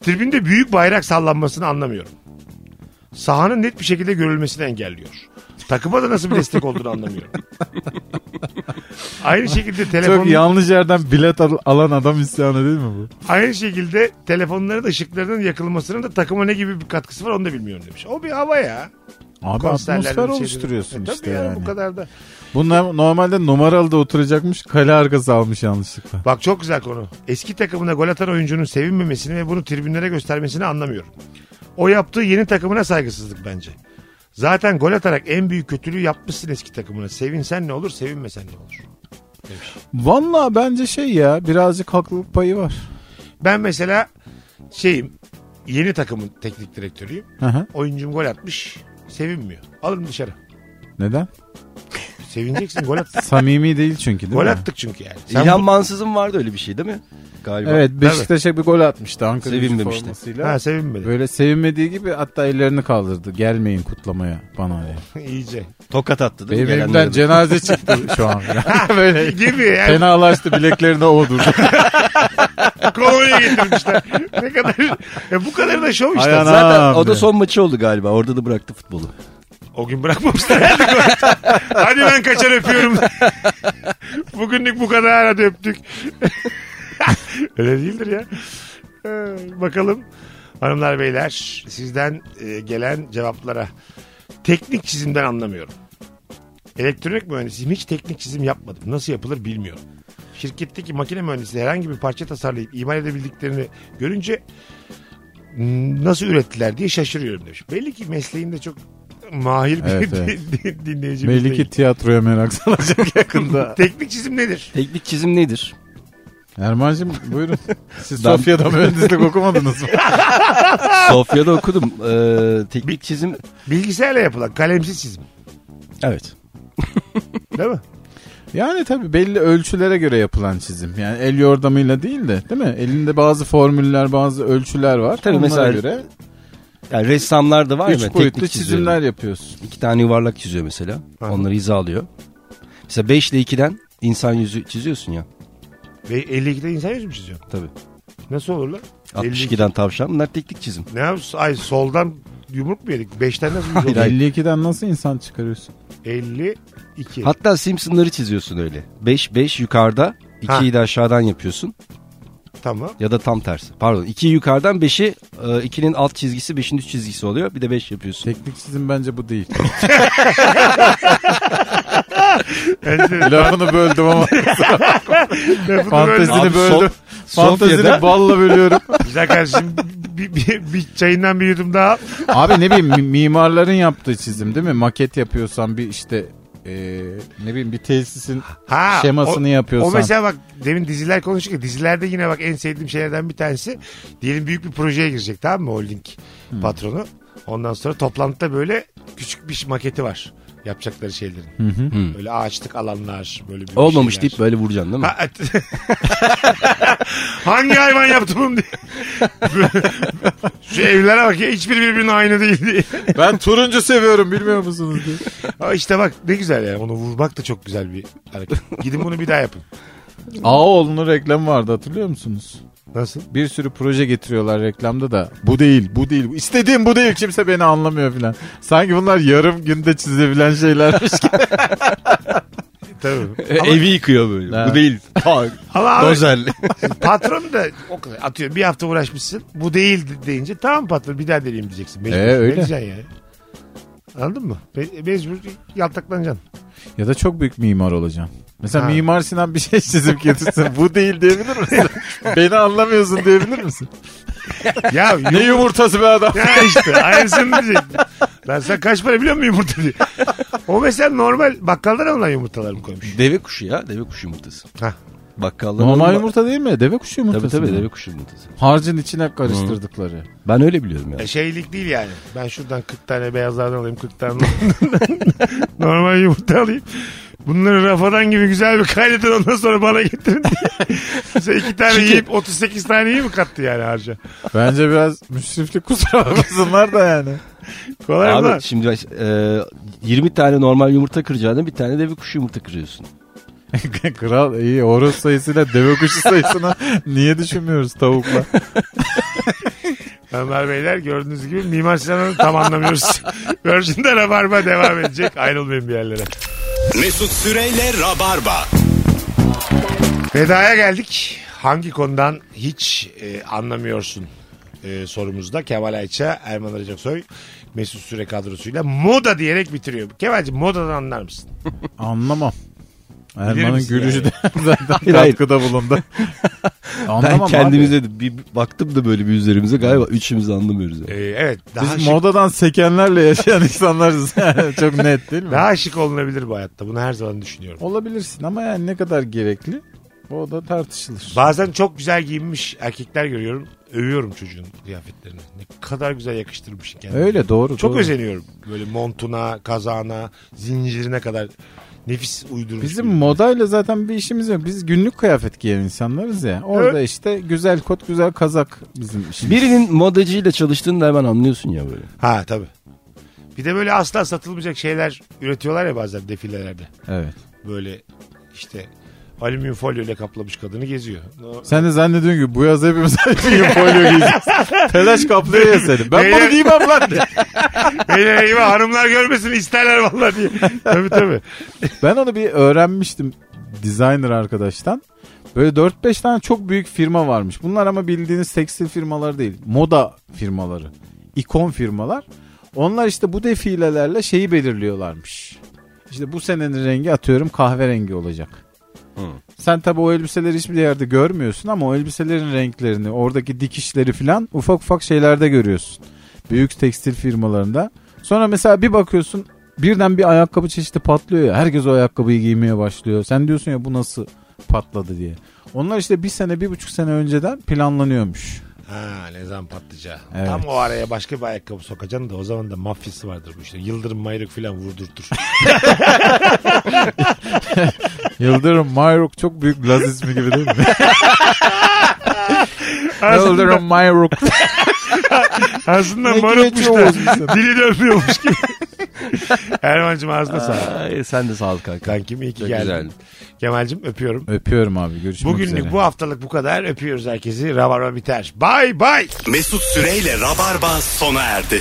Speaker 3: Tribünde büyük bayrak sallanmasını anlamıyorum. Sahanın net bir şekilde görülmesini engelliyor. Takıma da nasıl bir destek olduğunu anlamıyorum. aynı şekilde
Speaker 5: Çok
Speaker 3: telefon
Speaker 5: yanlış yerden bilet al- alan adam isyanı değil mi bu?
Speaker 3: aynı şekilde telefonların ışıklarının yakılmasının da takıma ne gibi bir katkısı var onu da bilmiyorum demiş. O bir hava ya.
Speaker 5: Abi
Speaker 3: Konserlerde
Speaker 5: atmosfer
Speaker 3: bir şey
Speaker 5: oluşturuyorsun
Speaker 3: dedi. E
Speaker 5: işte
Speaker 3: tabii ya,
Speaker 5: yani.
Speaker 3: Bu kadar da.
Speaker 5: Bunlar normalde numaralı da oturacakmış kale arkası almış yanlışlıkla.
Speaker 3: Bak çok güzel konu. Eski takımına gol atan oyuncunun sevinmemesini ve bunu tribünlere göstermesini anlamıyorum. O yaptığı yeni takımına saygısızlık bence. Zaten gol atarak en büyük kötülüğü yapmışsın eski takımına. Sevinsen ne olur, sevinmesen ne olur.
Speaker 5: Valla bence şey ya birazcık haklılık payı var.
Speaker 3: Ben mesela şeyim, yeni takımın teknik direktörüyüm.
Speaker 5: Hı hı.
Speaker 3: Oyuncum gol atmış, sevinmiyor. Alın dışarı.
Speaker 5: Neden?
Speaker 3: Sevineceksin gol attık.
Speaker 5: Samimi değil çünkü değil
Speaker 3: gol
Speaker 5: mi?
Speaker 3: attık çünkü yani. Sen
Speaker 4: İlhan Mansız'ın vardı öyle bir şey değil mi? Galiba.
Speaker 5: Evet Beşiktaş'a bir gol atmıştı Ankara gücü
Speaker 4: Sevinmemişti.
Speaker 5: formasıyla.
Speaker 3: bu... Ha sevinmedi.
Speaker 5: Böyle sevinmediği gibi hatta ellerini kaldırdı. Gelmeyin kutlamaya bana diye.
Speaker 3: İyice.
Speaker 4: Tokat attı değil mi?
Speaker 5: Benim evimden
Speaker 4: gelenlere de?
Speaker 5: cenaze çıktı şu an. Böyle
Speaker 3: Gibi yani.
Speaker 5: fenalaştı bileklerini ovdurdu.
Speaker 3: Kolonya getirmişler. ne kadar. E, bu kadar da şov işte.
Speaker 5: Ayağına-
Speaker 4: Zaten o
Speaker 5: Abi.
Speaker 4: da son maçı oldu galiba. Orada da bıraktı futbolu.
Speaker 3: O gün bırakmamışlar herhalde Koray. Hadi ben kaçar öpüyorum. Bugünlük bu kadar hadi öptük. Öyle değildir ya. Ee, bakalım hanımlar beyler sizden e, gelen cevaplara. Teknik çizimden anlamıyorum. Elektronik mühendisiyim. Hiç teknik çizim yapmadım. Nasıl yapılır bilmiyorum. Şirketteki makine mühendisi herhangi bir parça tasarlayıp imal edebildiklerini görünce "Hmm, nasıl ürettiler diye şaşırıyorum demiş. Belli ki mesleğinde çok mahir bir
Speaker 5: Evet,
Speaker 3: din-
Speaker 5: evet.
Speaker 3: din- dinleyicimiz
Speaker 5: Belli ki
Speaker 3: değil.
Speaker 5: tiyatroya merak salacak yakında.
Speaker 3: Teknik çizim nedir?
Speaker 4: Teknik çizim nedir?
Speaker 5: Erman'cığım buyurun. Siz
Speaker 4: Ben-
Speaker 5: Sofya'da mühendislik okumadınız mı?
Speaker 4: Sofya'da okudum. Ee, teknik çizim.
Speaker 3: Bilgisayarla yapılan kalemsiz çizim.
Speaker 4: Evet.
Speaker 3: Değil mi?
Speaker 5: Yani tabii belli ölçülere göre yapılan çizim. Yani el yordamıyla değil de değil mi? Elinde bazı formüller, bazı ölçüler var.
Speaker 4: Tabii
Speaker 5: Onlara
Speaker 4: mesela
Speaker 5: göre
Speaker 4: Yani ressamlar da var ya.
Speaker 5: üç
Speaker 4: teknik
Speaker 5: boyutlu
Speaker 4: çiziyorum.
Speaker 5: çizimler yapıyorsun.
Speaker 4: İki tane yuvarlak çiziyor mesela. Onları hizalıyor. Mesela 5 ile 2'den insan yüzü çiziyorsun ya.
Speaker 3: Ve 52'de insan yüzü mü çiziyor?
Speaker 4: Tabii.
Speaker 3: Nasıl olur lan? 52.
Speaker 4: 62'den tavşan. Bunlar teknik çizim.
Speaker 3: Ne yapsın? Ay soldan yumruk mu yedik? 5'ten nasıl yüz olur?
Speaker 5: 52'den nasıl insan çıkarıyorsun?
Speaker 3: 52.
Speaker 4: Hatta Simpson'ları çiziyorsun öyle. 5 5 yukarıda,
Speaker 3: Ha.
Speaker 4: 2'yi de aşağıdan yapıyorsun
Speaker 3: Tamam.
Speaker 4: ya da tam tersi. Pardon, 2'yi yukarıdan 5'i 2'nin alt çizgisi, 5'in üst çizgisi oluyor. Bir de 5 yapıyorsun.
Speaker 5: Teknik çizim bence bu değil.
Speaker 3: Enteresan.
Speaker 5: Lafını böldüm ama
Speaker 3: Lafını
Speaker 5: fantezini
Speaker 3: böldüm.
Speaker 4: Abi,
Speaker 5: böldüm.
Speaker 4: Sof-
Speaker 5: fantezini
Speaker 4: Sofya'da-
Speaker 5: balla bölüyorum.
Speaker 3: Güzel kardeşim bir, bir, bir çayından bir yudum daha. al.
Speaker 5: Abi ne bileyim mi- mimarların yaptığı çizim değil mi? Maket yapıyorsan bir işte e, ne bileyim bir tesisin
Speaker 3: Ha,
Speaker 5: şemasını
Speaker 3: o-
Speaker 5: yapıyorsan.
Speaker 3: O mesela bak demin diziler konuştuk ya dizilerde yine bak en sevdiğim şeylerden bir tanesi diyelim büyük bir projeye girecek tamam mı holding patronu. Ondan sonra toplantıda böyle küçük bir maketi var yapacakları şeylerin. Böyle ağaçlık alanlar böyle
Speaker 5: şey
Speaker 3: büyük
Speaker 4: Hmm. Olmamış
Speaker 3: şeyler.
Speaker 4: deyip böyle vuracaksın değil mi?
Speaker 3: Ha, et- Hangi hayvan yaptı bunu diye. Şu evlere bak ya hiçbir birbirine aynı değil diye.
Speaker 5: ben turuncu seviyorum bilmiyor musunuz diye.
Speaker 3: Ama işte bak ne güzel yani onu vurmak da çok güzel bir hareket. Gidin bunu bir daha yapın.
Speaker 5: Ağaoğlu'nun reklamı vardı hatırlıyor musunuz?
Speaker 3: Nasıl?
Speaker 5: bir sürü proje getiriyorlar reklamda da bu değil bu değil bu- istediğim bu değil kimse beni anlamıyor filan. Sanki bunlar yarım günde çizebilen şeylermiş gibi.
Speaker 3: Tabii.
Speaker 4: E, Evi yıkıyor böyle.
Speaker 5: Ha.
Speaker 4: Bu değil.
Speaker 3: Ama abi,
Speaker 4: Dozerli.
Speaker 3: patron da o kadar atıyor bir hafta uğraşmışsın. Bu değil de- deyince tamam patron bir daha deneyeyim diyeceksin. Mecbur.
Speaker 5: Ee,
Speaker 3: Ne
Speaker 5: öyle.
Speaker 3: diyeceksin yani? Anladın mı? Me- mecbur yaltaklanacaksın.
Speaker 5: ya da çok büyük mimar olacaksın. Mesela
Speaker 3: Ha.
Speaker 5: Mimar Sinan bir şey çizip getirsin bu değil diyebilir misin? beni anlamıyorsun diyebilir misin?
Speaker 3: Ya yok
Speaker 5: ne yumurtası be adam.
Speaker 3: ya işte aynısını diyecektim. Lan sen kaç para biliyor musun yumurta diye. O mesela normal bakkaldan alınan yumurtalar mı koymuş?
Speaker 4: Deve kuşu ya. Deve kuşu yumurtası.
Speaker 3: Hah.
Speaker 4: Bakkalda
Speaker 5: Normal
Speaker 4: normal-
Speaker 5: yumurta değil mi? Deve kuşu
Speaker 4: Tabii
Speaker 5: yumurtası.
Speaker 4: tabii
Speaker 5: mı?
Speaker 4: deve kuşu yumurtası.
Speaker 5: Harcın içine karıştırdıkları.
Speaker 4: Ben öyle biliyorum ya.
Speaker 3: E, Şeylik değil yani. Ben şuradan 40 tane beyazlardan alayım 40 tane normal yumurta alayım. Bunları rafadan gibi güzel bir kaynatın ondan sonra bana getirin diye. Mesela iki tane yiyip 38 tane iyi mi kattı yani harca?
Speaker 5: Bence biraz müsriflik kusura bakmasınlar da yani.
Speaker 3: Kolay mı? lan?
Speaker 4: Abi şimdi e, 20 tane normal yumurta kıracağına bir tane deve kuşu yumurta kırıyorsun.
Speaker 5: Kral iyi horoz sayısıyla deve kuşu sayısını niye düşünmüyoruz tavukla?
Speaker 3: Hanımlar beyler gördüğünüz gibi Mimar Sinan'ı tam anlamıyoruz. Virgin'de Rabarba devam edecek. Ayrılmayın bir yerlere.
Speaker 2: Mesut Süreyle Rabarba.
Speaker 3: Veda'ya geldik. Hangi konudan hiç e, anlamıyorsun e, sorumuzda. Kemal Ayça, Erman Arıcaksoy, Mesut Süre kadrosuyla moda diyerek bitiriyor. Kemal'cim modadan anlar mısın?
Speaker 5: Anlamam. Erman'ın
Speaker 3: misin
Speaker 5: gülüşü
Speaker 3: yani?
Speaker 5: de zaten
Speaker 4: Hayır, hayır.
Speaker 5: katkıda bulundu. Anlamam
Speaker 4: ben
Speaker 5: abi.
Speaker 4: kendimize de bir baktım da böyle bir üzerimize galiba üçümüz de anlamıyoruz. Yani.
Speaker 3: E, evet. Daha
Speaker 5: Biz
Speaker 3: şık,
Speaker 5: modadan sekenlerle yaşayan insanlarız. Çok net değil mi?
Speaker 3: daha şık olunabilir bu hayatta. Bunu her zaman düşünüyorum.
Speaker 5: Olabilirsin ama yani ne kadar gerekli o da tartışılır.
Speaker 3: Bazen çok güzel giyinmiş erkekler görüyorum. Övüyorum çocuğun kıyafetlerini. Ne kadar güzel yakıştırmış kendini.
Speaker 5: Öyle doğru.
Speaker 3: Çok
Speaker 5: doğru.
Speaker 3: özeniyorum. Böyle montuna, kazağına, zincirine kadar nefis uydurmuş.
Speaker 5: Bizim
Speaker 3: bir-
Speaker 5: modayla zaten bir işimiz yok. Biz günlük kıyafet giyen insanlarız ya. Orada işte güzel kot, güzel kazak bizim işimiz.
Speaker 4: Birinin modacıyla çalıştığını da hemen anlıyorsun ya böyle.
Speaker 3: Ha tabii. Bir de böyle asla satılmayacak şeyler üretiyorlar ya bazen defilelerde.
Speaker 5: Evet.
Speaker 3: Böyle işte alüminyum folyo ile kaplamış kadını geziyor. O-
Speaker 5: Sen de zannediyorsun ki bu yaz hepimiz alüminyum folyo giyeceğiz. Telaş kaplıyor ya seni. Ben
Speaker 3: Beyler-
Speaker 5: bunu giymem lan.
Speaker 3: Beyler eyvah hanımlar görmesin isterler vallahi diye. tabii tabii.
Speaker 5: Ben onu bir öğrenmiştim designer arkadaştan. Böyle 4-5 tane çok büyük firma varmış. Bunlar ama bildiğiniz tekstil firmaları değil. Moda firmaları. ikon firmalar. Onlar işte bu defilelerle şeyi belirliyorlarmış. işte bu senenin rengi atıyorum kahverengi olacak. Sen tabii o elbiseleri hiçbir yerde görmüyorsun ama o elbiselerin renklerini, oradaki dikişleri falan ufak ufak şeylerde görüyorsun. Büyük tekstil firmalarında. Sonra mesela bir bakıyorsun birden bir ayakkabı çeşidi patlıyor ya. Herkes o ayakkabıyı giymeye başlıyor. Sen diyorsun ya bu nasıl patladı diye. Onlar işte bir sene, bir buçuk sene önceden planlanıyormuş.
Speaker 3: Ha ne zaman patlayacağı.
Speaker 5: Evet.
Speaker 3: Tam o araya başka bir ayakkabı sokacaksın da o zaman da mafyası vardır bu işte. Yıldırım mayrık falan vurdurtur.
Speaker 5: Yıldırım Mayruk çok büyük Laz ismi gibi değil mi?
Speaker 3: Arasında-
Speaker 5: Yıldırım Mayruk.
Speaker 3: Aslında
Speaker 5: Ne
Speaker 3: marukmuş
Speaker 5: güveçli
Speaker 3: da
Speaker 5: olmuş insan.
Speaker 3: dili dönmüyormuş gibi. Erman'cığım ağzına sağlık.
Speaker 4: Ay, sen de sağlık kanka.
Speaker 3: Kankim iyi ki
Speaker 4: Çok
Speaker 3: geldin.
Speaker 4: güzeldi.
Speaker 3: Kemal'cim öpüyorum.
Speaker 5: Öpüyorum abi görüşmek
Speaker 3: Bugünlük
Speaker 5: üzere.
Speaker 3: bu haftalık bu kadar. Öpüyoruz herkesi. Rabarba biter. Bay bay.
Speaker 2: Mesut Süreyle Rabarba sona erdi.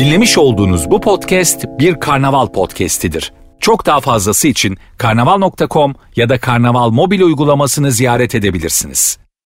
Speaker 1: Dinlemiş olduğunuz bu podcast bir karnaval podcastidir. Çok daha fazlası için karnaval.com ya da karnaval mobil uygulamasını ziyaret edebilirsiniz.